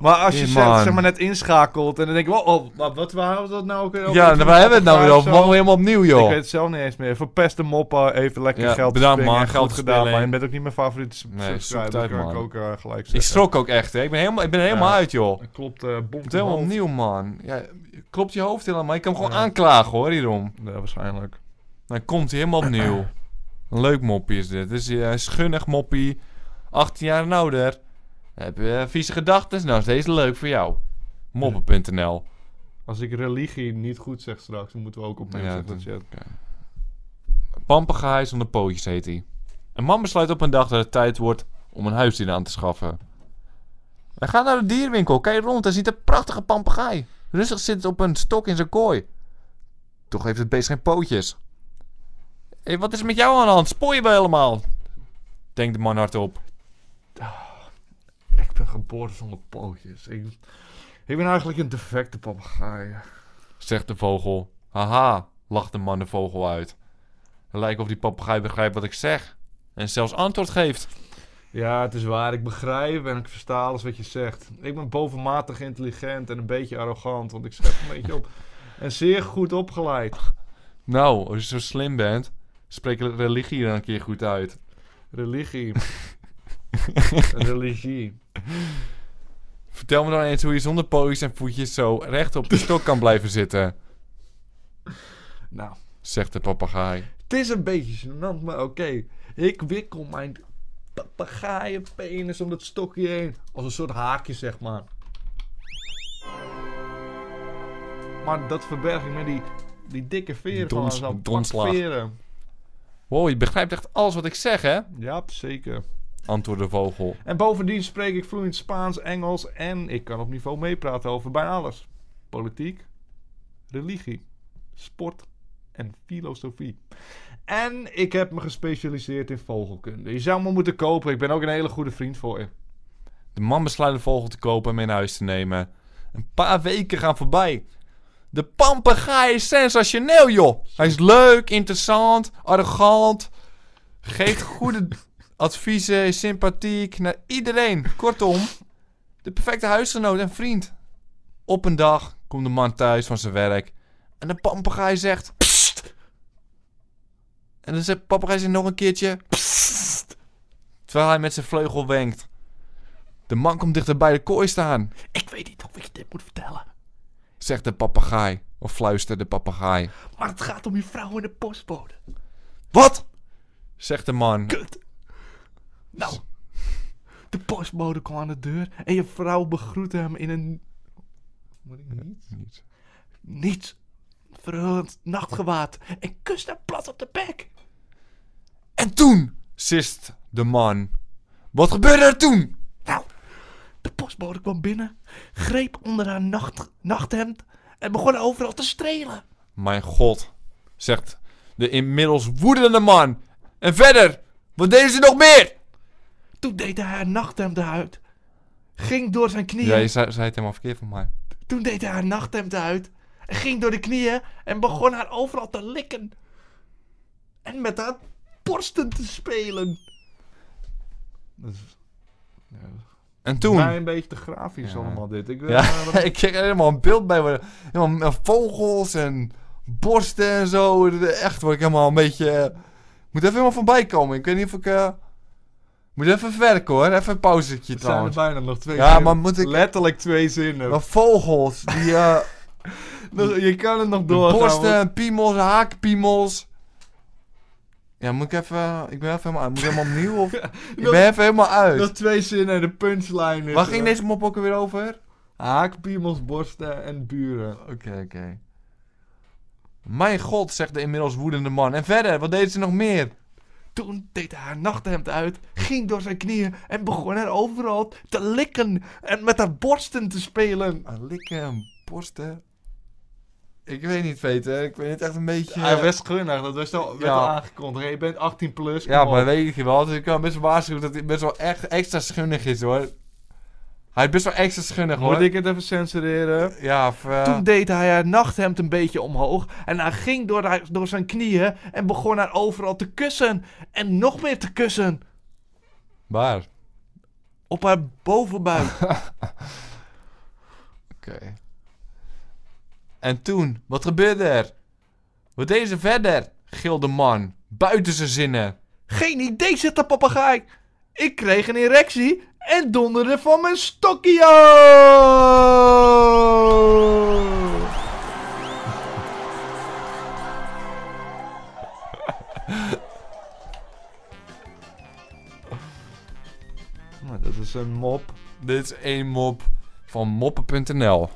Speaker 1: Maar als je
Speaker 4: Nee,
Speaker 1: zelf
Speaker 4: man.
Speaker 1: zeg maar net inschakelt en dan denk ik, wow, oh, wat, wat waren we dat nou ook weer over?
Speaker 4: Ja,
Speaker 1: Ik
Speaker 4: daar
Speaker 1: vind
Speaker 4: hebben we het nou weer
Speaker 1: zo.
Speaker 4: over. Mogen we helemaal opnieuw,
Speaker 1: Ik weet
Speaker 4: joh.
Speaker 1: het zelf niet eens meer. Verpeste moppen, even lekker
Speaker 4: Oh. Ja,
Speaker 1: geld
Speaker 4: bedankt,
Speaker 1: springen.
Speaker 4: man.
Speaker 1: Goed
Speaker 4: Geld
Speaker 1: gedaan,
Speaker 4: spelen.
Speaker 1: man. Je bent ook niet mijn favoriete sub-
Speaker 4: Nee, zoek
Speaker 1: subscriber,
Speaker 4: het uit,
Speaker 1: kan ik
Speaker 4: man.
Speaker 1: ook eh, gelijk zeggen.
Speaker 4: Ik schrok ook echt, hè. Ik ben helemaal, ik ben er helemaal
Speaker 1: Ja.
Speaker 4: uit, joh.
Speaker 1: Dat klopt, eh
Speaker 4: Het
Speaker 1: bond
Speaker 4: is helemaal
Speaker 1: omhoog.
Speaker 4: opnieuw, man. Ja, klopt je hoofd helemaal. Ik kan hem gewoon
Speaker 1: Ja.
Speaker 4: aanklagen, hoor, hierom.
Speaker 1: Ja, waarschijnlijk.
Speaker 4: Dan komt hij helemaal opnieuw. Een leuk moppie is dit. Dus eh schunnig moppie. 18 jaar en ouder. Heb je eh, vieze gedachten? Nou, is deze leuk voor jou. Moppen.nl.
Speaker 1: Als ik religie niet goed zeg straks, dan moeten we ook opnieuw
Speaker 4: Ja,
Speaker 1: zeggen
Speaker 4: dat-
Speaker 1: dat je het-
Speaker 4: Pampagaai zonder pootjes heet hij. Een man besluit op een dag dat het tijd wordt om een huisdier aan te schaffen. Hij gaat naar de dierwinkel, kijkt rond en ziet een prachtige papegaai. Rustig zit op een stok in zijn kooi. Toch heeft het beest geen pootjes. Hé, wat is er met jou aan de hand? Spoor je wel helemaal? Denkt de man hardop.
Speaker 1: Ik ben geboren zonder pootjes. Ik, ik ben eigenlijk een defecte papegaai.
Speaker 4: Zegt de vogel. Haha, lacht de man de vogel uit. Het lijkt of die papegaai begrijpt wat ik zeg. En zelfs antwoord geeft.
Speaker 1: Ja, het is waar. Ik begrijp en ik versta alles wat je zegt. Ik ben bovenmatig intelligent en een beetje arrogant, want ik schep een beetje op. En zeer goed opgeleid.
Speaker 4: Nou, als je zo slim bent, spreek religie dan een keer goed uit.
Speaker 1: Religie. Religie.
Speaker 4: Vertel me dan eens hoe je zonder pootjes en voetjes zo recht op de stok kan blijven zitten.
Speaker 1: Nou,
Speaker 4: zegt de papegaai.
Speaker 1: het is een beetje gênant, maar oké. Ik wikkel mijn papegaaienpenis om dat stokje heen. Als een soort haakje, zeg maar. Maar dat verberg ik met die, die dikke veren
Speaker 4: Dons-
Speaker 1: van zo'n
Speaker 4: donslaag.
Speaker 1: pak veren.
Speaker 4: Wow, je begrijpt echt alles wat ik zeg, hè?
Speaker 1: Ja, zeker.
Speaker 4: Antwoordde de vogel.
Speaker 1: En bovendien spreek ik vloeiend Spaans, Engels en ik kan op niveau meepraten over bijna alles. Politiek, religie, sport en filosofie. En ik heb me gespecialiseerd in vogelkunde. Je zou me moeten kopen, ik ben ook een hele goede vriend voor je.
Speaker 4: De man besluit de vogel te kopen en mee naar huis te nemen. Een paar weken gaan voorbij. De papegaai is sensationeel, joh. Hij is leuk, interessant, arrogant. Geeft goede adviezen, is sympathiek naar iedereen. Kortom, de perfecte huisgenoot en vriend. Op een dag komt de man thuis van zijn werk. En de papegaai zegt... "Psst." En dan zegt de papegaai zegt nog een keertje... "Psst." Terwijl hij met zijn vleugel wenkt. De man komt dichter bij de kooi staan,
Speaker 1: Ik weet niet of ik je dit moet vertellen,
Speaker 4: zegt de papegaai. Of fluistert de papegaai.
Speaker 1: maar het gaat om je vrouw en de postbode.
Speaker 4: Wat? Zegt de man.
Speaker 1: Kut. Nou, de postbode kwam aan de deur en je vrouw begroette hem in een... Moet ik niet? niets. Verhullend nachtgewaad en kust hem plat op de bek.
Speaker 4: En toen, sist de man. Wat gebeurde er toen?
Speaker 1: Nou, de postbode kwam binnen, greep onder haar nacht, nachthemd en begon overal te strelen.
Speaker 4: Mijn god, zegt de inmiddels woedende man. En verder, wat deden ze nog meer?
Speaker 1: Toen deed hij haar nachthemd uit, ging door zijn knieën.
Speaker 4: Jij zei, zei het helemaal verkeerd van mij.
Speaker 1: Toen deed hij haar nachthemd uit, ging door de knieën en begon haar overal te likken. En met haar borsten te spelen.
Speaker 4: En toen.
Speaker 1: een beetje te grafisch allemaal dit. Ik, eh,
Speaker 4: Ja, ik kreeg er helemaal een beeld bij. worden. Helemaal met vogels en borsten en zo. Echt word ik helemaal een beetje... eh, moet even helemaal voorbij komen. Ik weet niet of ik... eh, moet even verwerken hoor. Even een pauzetje trouwens.
Speaker 1: bijna nog twee
Speaker 4: Ja, zinnen. maar moet ik-
Speaker 1: Letterlijk twee zinnen.
Speaker 4: Maar vogels, die eh,
Speaker 1: Nog- Je kan het nog doorgaan.
Speaker 4: borsten
Speaker 1: want-
Speaker 4: en piemels, haakpiemels. Ja, moet ik even... Ik ben even helemaal... Moet ik helemaal opnieuw of... Ik ben even helemaal
Speaker 1: Nog
Speaker 4: uit.
Speaker 1: twee zinnen en de punchline is...
Speaker 4: Waar ging
Speaker 1: eh,
Speaker 4: deze mop ook weer over?
Speaker 1: Haakpiemels, borsten en buren.
Speaker 4: Oké, oké. Mijn god, zegt de inmiddels woedende man. En verder, wat deden ze nog meer?
Speaker 1: Toen deed hij haar nachthemd uit, ging door zijn knieën en begon er overal te likken en met haar borsten te spelen.
Speaker 4: Aan likken en borsten. Ik weet niet, Peter. Ik weet het echt een beetje.
Speaker 1: Hij was gunnig, dat was al, werd
Speaker 4: Ja.
Speaker 1: al aangekondigd. Hey, je bent 18 plus,
Speaker 4: ja,
Speaker 1: kom
Speaker 4: maar
Speaker 1: op.
Speaker 4: weet je wel. dus ik kan best wel waarschuwen dat hij best wel echt extra schunnig is hoor. Hij is best wel extra schunnig hoor.
Speaker 1: Moet ik het even censureren?
Speaker 4: Ja, of, eh,
Speaker 1: Toen deed hij haar nachthemd een beetje omhoog en hij ging door, haar, door zijn knieën en begon haar overal te kussen. En nog meer te kussen
Speaker 4: Waar?
Speaker 1: op haar bovenbuik.
Speaker 4: Oké. En toen, wat gebeurde er? Wat deden ze verder? Gilde man. Buiten zijn zinnen.
Speaker 1: Geen idee, zegt de papegaai. Ik kreeg een erectie en donderde van mijn stokje. af. Nou, dat is een mop.
Speaker 4: Dit is één mop van moppen.nl.